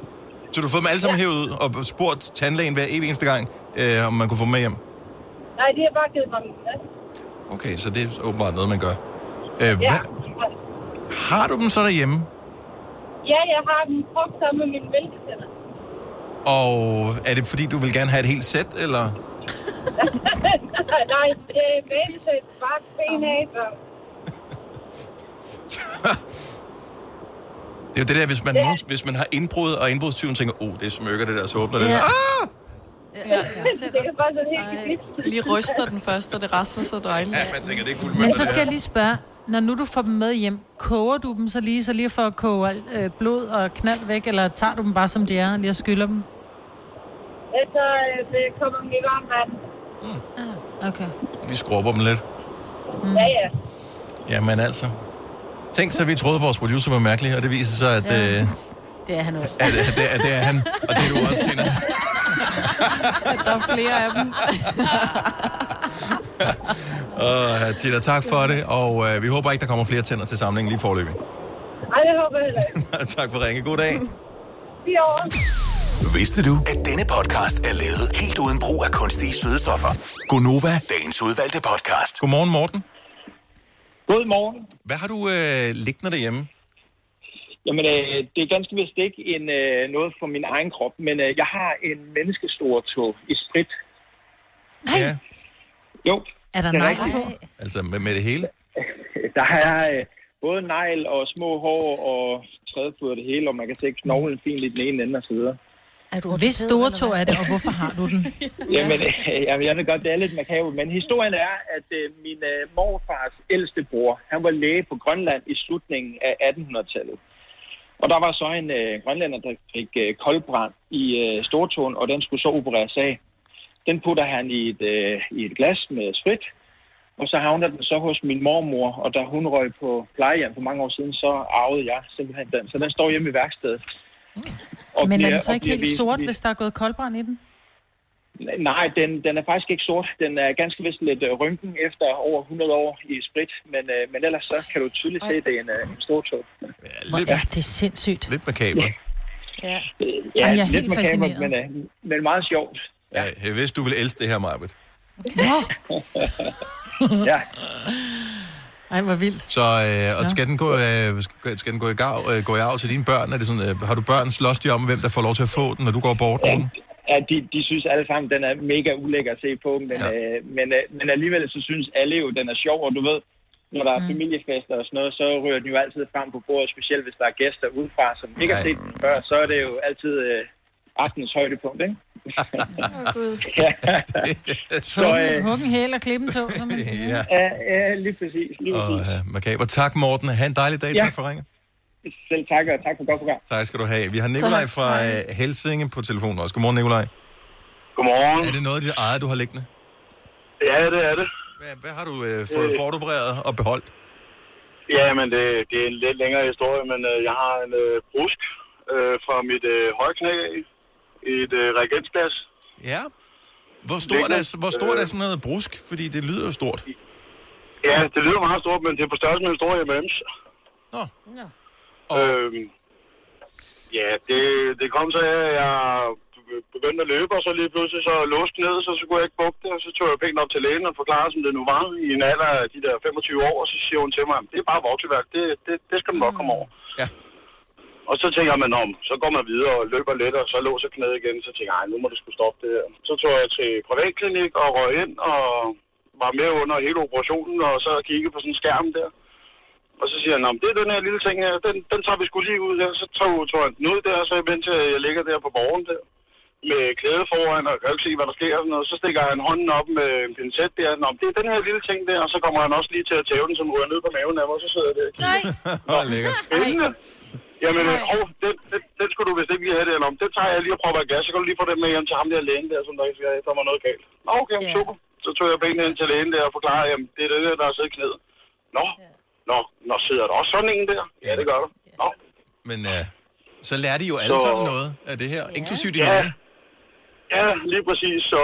[SPEAKER 1] Så du har fået dem alle sammen hævet ud og spurgt tandlægen hver evig eneste gang, øh, om man kunne få dem med hjem?
[SPEAKER 23] Nej, de har bare givet mig min plads.
[SPEAKER 1] Okay, så det er åbenbart noget, man gør. Øh, ja.
[SPEAKER 23] Ja.
[SPEAKER 1] hvad, har du dem så derhjemme?
[SPEAKER 23] ja, jeg har dem brugt sammen med mine mælketænder.
[SPEAKER 1] Og er det fordi, du vil gerne have et helt sæt, eller?
[SPEAKER 23] Nej, det er mælketænder. Bare ben af.
[SPEAKER 19] eh?
[SPEAKER 23] så-
[SPEAKER 1] Det er jo det der, hvis man, ja. hvis man har indbrud, og indbrudstyven tænker, oh, det smykker det der, så åbner ja. det.
[SPEAKER 5] Ja.
[SPEAKER 1] Ah!
[SPEAKER 5] Ja,
[SPEAKER 23] det er bare sådan helt
[SPEAKER 5] Lige ryster den først, og det rasser så dejligt.
[SPEAKER 1] Ja, man tænker, det er guld
[SPEAKER 3] Men så skal jeg lige spørge, når nu du får dem med hjem, koger du dem så lige, så lige for at koge alt, øh, blod og knald væk, eller tager du dem bare som de er, og lige og skyller dem?
[SPEAKER 23] Altså, øh, det kommer min varm vand.
[SPEAKER 3] Okay.
[SPEAKER 1] Vi skrubber dem lidt.
[SPEAKER 3] Mm.
[SPEAKER 23] Ja, ja.
[SPEAKER 1] Jamen altså. Tænk så, vi troede, vores producer var mærkelig, og det viser sig, at, ja. øh,
[SPEAKER 2] Det er han også.
[SPEAKER 1] at, at, det, at det er han, og det er du også, Tina.
[SPEAKER 5] Der er flere af dem.
[SPEAKER 1] Og, Tina, tak for det, og øh, vi håber ikke, der kommer flere tænder til samlingen lige forløbig.
[SPEAKER 23] Ej, det håber jeg heller ikke.
[SPEAKER 1] tak for ringe. God dag.
[SPEAKER 23] fire år.
[SPEAKER 8] Vidste du, at denne podcast er lavet helt uden brug af kunstige sødestoffer?
[SPEAKER 1] Gonova.
[SPEAKER 8] Dagens udvalgte podcast.
[SPEAKER 1] Godmorgen, Morten.
[SPEAKER 9] Godmorgen.
[SPEAKER 1] Hvad har du øh, liggende derhjemme?
[SPEAKER 9] Jamen, øh, det er ganske vist ikke en, øh, noget fra min egen krop, men øh, jeg har en menneskestor tog i sprit.
[SPEAKER 1] Nej. Ja.
[SPEAKER 9] Jo.
[SPEAKER 3] Er der
[SPEAKER 9] det
[SPEAKER 3] nej
[SPEAKER 9] rigtigt.
[SPEAKER 3] på?
[SPEAKER 1] Altså med, med det hele?
[SPEAKER 9] Der er øh, både negl og små hår og trædefod og det hele, og man kan se knoglen fint i den ene ende og så videre.
[SPEAKER 2] Er du
[SPEAKER 3] Hvis store tog er det, og hvorfor har du den?
[SPEAKER 9] Jamen, øh, jamen, jeg ved godt, det er lidt makabert, men historien er, at øh, min øh, morfars ældste bror, han var læge på Grønland i slutningen af 1800-tallet. Og der var så en øh, grønlænder, der fik øh, koldbrand i øh, stortåen, og den skulle så opereres af. Den putter han i et, øh, i et glas med sprit, og så havner den så hos min mormor, og da hun røg på plejehjem for mange år siden, så arvede jeg simpelthen den. Så den står hjemme i værkstedet. Og
[SPEAKER 3] Men er
[SPEAKER 9] bliver-
[SPEAKER 3] den så
[SPEAKER 9] og
[SPEAKER 3] ikke
[SPEAKER 9] bliver
[SPEAKER 3] helt
[SPEAKER 9] vi-
[SPEAKER 3] sort,
[SPEAKER 9] vi-
[SPEAKER 3] hvis der er gået koldbrand i den?
[SPEAKER 9] Nej, den, den er faktisk ikke sort. Den er ganske vist lidt øh, rynken efter over 100 år i sprit, men, øh, men ellers så kan du tydeligt se, at det er en, øh, en stor tog.
[SPEAKER 1] Lidt,
[SPEAKER 3] ja, det er sindssygt.
[SPEAKER 1] Lidt makabert.
[SPEAKER 2] Ja.
[SPEAKER 9] Øh, Ja,
[SPEAKER 3] Ej, jeg
[SPEAKER 9] jeg
[SPEAKER 3] er
[SPEAKER 9] er
[SPEAKER 3] helt
[SPEAKER 9] lidt makabert,
[SPEAKER 3] fascineret.
[SPEAKER 9] men, øh, men meget sjovt.
[SPEAKER 1] Ja. Jeg vidste, du ville elske det her, Marbet.
[SPEAKER 3] Nå.
[SPEAKER 9] ja.
[SPEAKER 3] Ej, hvor vildt.
[SPEAKER 1] Så øh,
[SPEAKER 3] Nå.
[SPEAKER 1] og skal, den gå, øh, skal- skal den gå i, gav, øh, gå i arv til dine børn? Er det sådan, øh, har du børn, slås de om, hvem der får lov til at få den, når du går bort? Ja.
[SPEAKER 9] Ja, de, de synes alle sammen, den er mega ulækker at se på, men, ja. øh, men, øh, men alligevel så synes alle jo, den er sjov, og du ved, når der er
[SPEAKER 24] Mm.
[SPEAKER 9] familiefester og sådan noget, så ryger den jo altid frem på bordet, specielt hvis der er gæster udefra, som ikke har
[SPEAKER 1] Nej.
[SPEAKER 9] set den før, så er det jo altid øh, aftenens højdepunkt, ikke? så, øh,
[SPEAKER 3] Huggen, huggen hæl og klippen tog, som man siger.
[SPEAKER 1] Ja.
[SPEAKER 9] ja, ja, lige præcis. Lige
[SPEAKER 1] Og,
[SPEAKER 9] præcis.
[SPEAKER 1] øh, makabert. Tak, Morten. Ha' en dejlig dag. Ja.
[SPEAKER 9] Ja.
[SPEAKER 1] Tak for ringen.
[SPEAKER 9] Selv tak, og tak for godt program.
[SPEAKER 1] Tak skal du have. Vi har Nikolaj fra øh, Helsinge på telefonen også. Godmorgen, Nikolaj.
[SPEAKER 25] Godmorgen.
[SPEAKER 1] Er det noget af dit eget, du har liggende?
[SPEAKER 25] Ja, det er det.
[SPEAKER 1] Hvad, hvad har du øh, fået øh. bortopereret og beholdt?
[SPEAKER 25] Ja, men det, det er en lidt længere historie, men øh, jeg har en øh, brusk øh, fra mit øh, højknæ af i et øh, reagensglas.
[SPEAKER 1] Ja. Hvor stort er, hvor stort er sådan noget brusk? Fordi det lyder jo stort.
[SPEAKER 25] Ja, det lyder meget stort, men det er på størrelse med en stor M&M's.
[SPEAKER 1] Nå.
[SPEAKER 25] Nå. Øhm, ja, det, det kom så af, at jeg begyndte at løbe, og så lige pludselig så låste ned, så, så kunne jeg ikke bukke det, og så tog jeg pænt op til lægen og forklarede, som det nu var, i en alder af de der 25 år, og så siger hun til mig, det er bare vokseværk, det, det, det skal du nok komme over.
[SPEAKER 1] Ja.
[SPEAKER 25] Og så tænker man om, så går man videre og løber lidt, og så låser knæet igen, så tænker jeg, "Ej, nu må du skulle stoppe det her. Så tog jeg til privatklinik og røg ind, og var med under hele operationen, og så kiggede på sådan en skærm der. Og så siger han, "Nå, men det er den her lille ting her, den, den tager vi sgu lige ud der. Så tog, tog han den ud der, og så imens jeg jeg ligger der på borgen der, med klæde foran, og kan jo ikke se, hvad der sker og sådan noget. Så stikker han hånden op med en pincet der, Nå, men det er den her lille ting der, og så kommer han også lige til at tæve den, som ryger ned på maven af mig, og så sidder jeg der. og kigger.
[SPEAKER 1] Åh, lækkert.
[SPEAKER 25] Spændende. Jamen, øh, hov, den, den, den skulle du vist ikke lige have der, Nå, men den tager jeg lige og propper i gas, så kan du lige få den med hjem til ham der lægen der, som der ikke siger, der var noget galt. Nå, okay, yeah. super. Så tog jeg benene ind til lægen der og forklarede, jamen, det er det der, der er siddet i knæet. Nå, Nå, nå, sidder der også sådan en der? Ja, det gør der. Nå.
[SPEAKER 1] Men øh, så lærer de jo alle
[SPEAKER 25] Så-
[SPEAKER 1] sammen noget af det her, inklusive din
[SPEAKER 25] Ja.
[SPEAKER 1] læge.
[SPEAKER 25] Ja, lige præcis, så...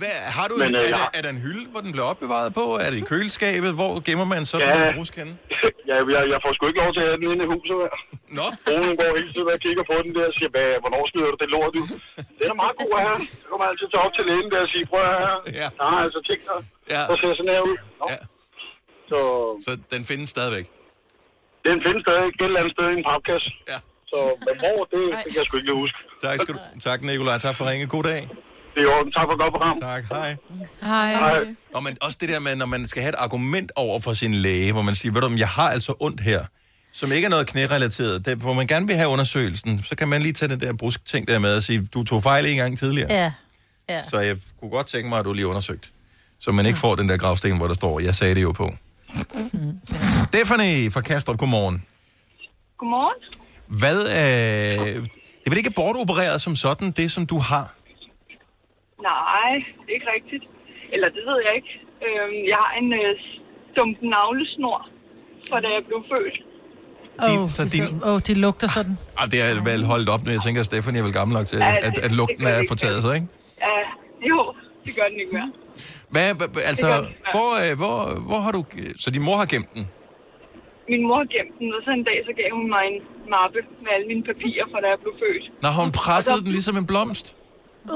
[SPEAKER 1] Hvad, Har du,
[SPEAKER 25] Men,
[SPEAKER 1] en,
[SPEAKER 25] øh,
[SPEAKER 1] er,
[SPEAKER 25] jeg
[SPEAKER 1] der,
[SPEAKER 25] har-
[SPEAKER 1] er der en hylde, hvor den bliver opbevaret på? Er det i køleskabet? Hvor gemmer man sådan
[SPEAKER 25] Ja.
[SPEAKER 1] noget brusk henne?
[SPEAKER 25] Ja, jeg, jeg får sgu ikke lov til at have den inde i huset her.
[SPEAKER 1] Nå.
[SPEAKER 25] Konen går hele tiden og kigger på den der og siger, hvad, hvornår smider du det lort ud? Den er meget god at have. Så kommer jeg altid til op til lægen der og siger, prøv at høre her. Nej, altså tænk dig.
[SPEAKER 1] Ja.
[SPEAKER 25] Så ser sådan her ud. Nå. Så,
[SPEAKER 1] Så den findes stadigvæk?
[SPEAKER 25] Den findes stadig et eller andet sted i en papkasse.
[SPEAKER 1] Ja.
[SPEAKER 25] Så, men hvor, det, det kan jeg sgu ikke lige huske.
[SPEAKER 1] Tak, skal du, tak Nicolaj. Tak for ringe. God dag.
[SPEAKER 25] Det er i orden. Tak for godt program.
[SPEAKER 1] Tak. Hej.
[SPEAKER 3] Hej.
[SPEAKER 1] Og men også det der med, når man skal have et argument over for sin læge, hvor man siger, ved du, om, jeg har altså ondt her, som ikke er noget knærelateret, det, hvor man gerne vil have undersøgelsen, så kan man lige tage den der brusk ting der med og sige, du tog fejl en gang tidligere.
[SPEAKER 2] Ja. ja.
[SPEAKER 1] Så jeg kunne godt tænke mig, at du lige undersøgt. Så man ikke får den der gravsten, hvor der står, jeg sagde det jo på. Stephanie fra Kastrup, godmorgen.
[SPEAKER 26] Godmorgen.
[SPEAKER 1] Hvad, øh, det er vel ikke bortopereret som sådan, det som du har?
[SPEAKER 26] Nej, ikke rigtigt. Eller det ved jeg ikke. Øhm, jeg har en øh, stump navlesnor, fra da jeg blev født.
[SPEAKER 1] Din, oh, så din,
[SPEAKER 3] Åh, oh, det lugter sådan.
[SPEAKER 1] ah, det er vel holdt op nu. Jeg tænker, at Stephanie er vel gammel nok til,
[SPEAKER 26] Ja,
[SPEAKER 1] at, at,
[SPEAKER 26] det-
[SPEAKER 1] at
[SPEAKER 26] det
[SPEAKER 1] lugten
[SPEAKER 26] gør det
[SPEAKER 1] er
[SPEAKER 26] ikke.
[SPEAKER 1] fortaget sig, ikke?
[SPEAKER 26] Ja, jo, det gør den ikke mere.
[SPEAKER 1] Hvad, hva- hva- altså,
[SPEAKER 26] Det gør den, ja.
[SPEAKER 1] hvor, øh, hvor, hvor har du... Så din mor har gemt den?
[SPEAKER 26] Min mor gemte den, og så en dag så gav hun mig en mappe med alle mine papirer, fra da jeg blev født.
[SPEAKER 1] Nå, har hun pressede den ligesom en blomst?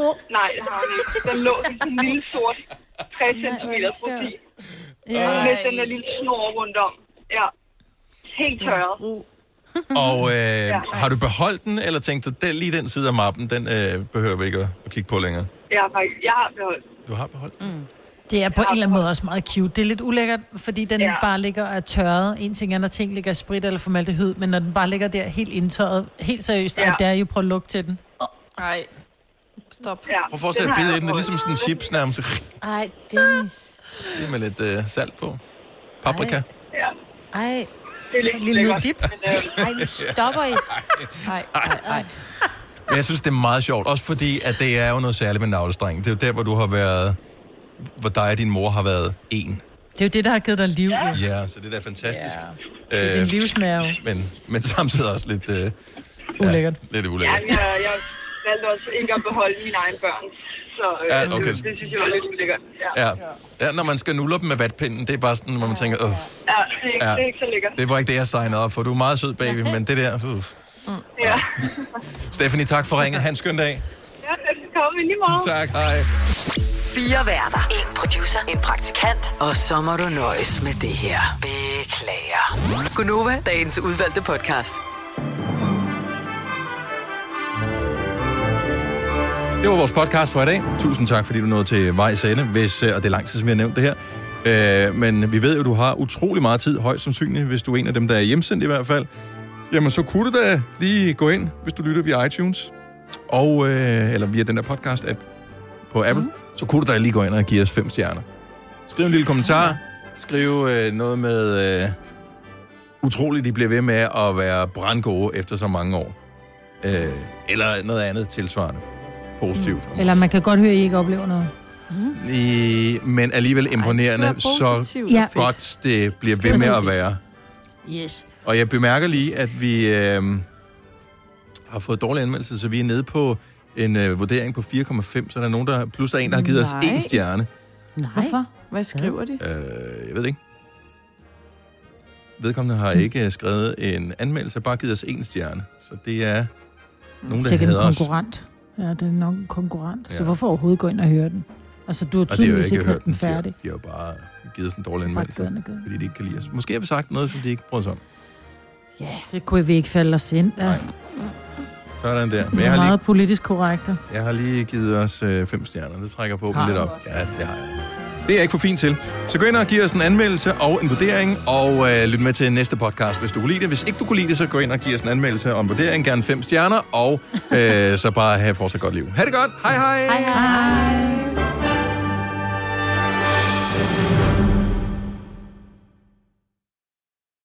[SPEAKER 26] Oh. Nej, det har hun ikke. Den lå i sådan en lille sort 60 cm profil. Ja. Med den der lille snor rundt om. Ja. Helt tørret.
[SPEAKER 3] Mhm.
[SPEAKER 1] Og øh, ja. har du beholdt den, eller tænkt du, den, lige den side af mappen, den øh, behøver vi ikke at, at kigge på længere?
[SPEAKER 26] Jeg har faktisk, jeg har beholdt.
[SPEAKER 1] Du har beholdt den? Mm.
[SPEAKER 3] Det er på en eller anden måde også meget cute. Det er lidt ulækkert, fordi den ja. bare ligger og er tørret. En ting er, når ting ligger i sprit eller formaldehyd, men når den bare ligger der helt indtørret, helt seriøst, ja. og der er jo prøvet at lukke til den.
[SPEAKER 5] Nej. Stop.
[SPEAKER 1] Prøv at forestille dig at bide i den, det er ligesom sådan en chips nærmest.
[SPEAKER 2] Ej, Dennis.
[SPEAKER 1] Lige med lidt øh, salt på. Paprika.
[SPEAKER 26] Ja.
[SPEAKER 2] Ej.
[SPEAKER 26] Det er lidt
[SPEAKER 2] Lille
[SPEAKER 26] lækkert.
[SPEAKER 2] dip. Ej, nu stopper I. Ej, ej, ej.
[SPEAKER 1] Men jeg synes, det er meget sjovt. Også fordi, at det er jo noget særligt med navlestrengen. Det er jo der, hvor du har været... Hvor dig og din mor har været en.
[SPEAKER 3] Det er jo det, der har givet dig liv. Ja.
[SPEAKER 1] Ja, så det der er fantastisk.
[SPEAKER 3] Det er
[SPEAKER 1] Ja.
[SPEAKER 3] din
[SPEAKER 1] Øh,
[SPEAKER 3] livsnerve.
[SPEAKER 1] men, men samtidig også lidt... Øh,
[SPEAKER 3] Ulækkert.
[SPEAKER 1] Ja, lidt
[SPEAKER 26] Ja,
[SPEAKER 1] ulækkert.
[SPEAKER 26] jeg, jeg valgte også ikke at beholde mine egne børn. Så øh,
[SPEAKER 1] Ja,
[SPEAKER 26] ja,
[SPEAKER 1] okay.
[SPEAKER 26] okay. det, det synes jeg var lidt ulækkert. Ja,
[SPEAKER 1] Ja. ja, når man skal nulle op med vatpinden, det er bare sådan, hvor man tænker, Åh,
[SPEAKER 26] ja, det, er ikke,
[SPEAKER 1] Ja.
[SPEAKER 26] ja. det er ikke så lækkert.
[SPEAKER 1] det var ikke det, jeg signede op for. Du er meget sød, baby, men det der... Uh.
[SPEAKER 26] Ja.
[SPEAKER 1] Stephanie, tak for ringet. Ha' en skøn dag.
[SPEAKER 26] ja, velkommen i morgen.
[SPEAKER 1] Tak, hej.
[SPEAKER 6] Fire værter. En producer. En praktikant. Og så må du nøjes med det her. Beklager. Gunova, dagens udvalgte podcast.
[SPEAKER 1] Det var vores podcast for i dag. Tusind tak, fordi du nåede til vejs ende, hvis, øh, og det er lang tid, som vi har nævnt det her. Øh, men vi ved jo, du har utrolig meget tid, højst sandsynligt, hvis du er en af dem, der er hjemsendt i hvert fald. Jamen, så kunne du da lige gå ind, hvis du lytter via iTunes, og, øh, eller via den der podcast-app på Apple, mm. så kunne du da lige gå ind og give os fem stjerner. Skriv en lille kommentar, skriv øh, noget med, øh, utroligt, de bliver ved med at være brandgode efter så mange år. Øh, eller noget andet tilsvarende positivt. Mm.
[SPEAKER 3] Eller man kan godt høre, at I ikke oplever noget. Mm-hmm.
[SPEAKER 1] I, men alligevel imponerende, Ej,
[SPEAKER 3] det skal være
[SPEAKER 1] så
[SPEAKER 3] positivt og fedt.
[SPEAKER 1] godt det bliver
[SPEAKER 3] Det skal
[SPEAKER 1] ved med
[SPEAKER 3] være
[SPEAKER 1] at
[SPEAKER 3] fedt.
[SPEAKER 1] være.
[SPEAKER 2] Yes.
[SPEAKER 1] Og jeg bemærker lige, at vi øh, har fået dårlig anmeldelse, så vi er nede på en øh, vurdering på 4,5, så der er nogen, der plus der er en, der har givet os
[SPEAKER 5] Nej.
[SPEAKER 1] en stjerne.
[SPEAKER 2] Nej.
[SPEAKER 5] Hvorfor? Hvad skriver de?
[SPEAKER 1] Øh, jeg ved det ikke. Vedkommende har ikke øh, skrevet en anmeldelse, bare givet os en stjerne. Så det er nogen, der
[SPEAKER 3] Sikkert en
[SPEAKER 1] hedder os.
[SPEAKER 3] konkurrent. Ja, det er nok en konkurrent. Ja.
[SPEAKER 1] Ja.
[SPEAKER 3] Så hvorfor overhovedet gå ind og høre den? Altså, du har
[SPEAKER 1] Og det er jo
[SPEAKER 3] tydeligvis
[SPEAKER 1] ikke
[SPEAKER 3] ikke
[SPEAKER 1] hørt den
[SPEAKER 3] færdig.
[SPEAKER 1] De har jo bare givet os en dårlig
[SPEAKER 3] givet den
[SPEAKER 1] anmeldelse,
[SPEAKER 3] og givet
[SPEAKER 1] fordi de ikke kan lide os. Måske har vi sagt noget, som de ikke bryder sig om.
[SPEAKER 3] Ja, det kunne vi ikke falde os ind. Ja.
[SPEAKER 1] Sådan der. Men
[SPEAKER 3] Vi
[SPEAKER 1] jeg
[SPEAKER 3] er
[SPEAKER 1] har lige
[SPEAKER 3] meget politisk korrekte.
[SPEAKER 1] Jeg har lige givet os øh, fem stjerner. Det trækker på
[SPEAKER 3] Har
[SPEAKER 1] lidt
[SPEAKER 3] du
[SPEAKER 1] op. Ja, det har jeg. Det er jeg ikke for fint til. Så gå ind og giv os en anmeldelse og en vurdering, og øh, lyt med til næste podcast, hvis du kunne lide det. Hvis ikke du kunne lide det, så gå ind og giv os en anmeldelse og en vurdering, gerne fem stjerner, og øh, så bare have et fortsat godt liv. Ha' det godt. Hej hej.
[SPEAKER 2] Hej, hej.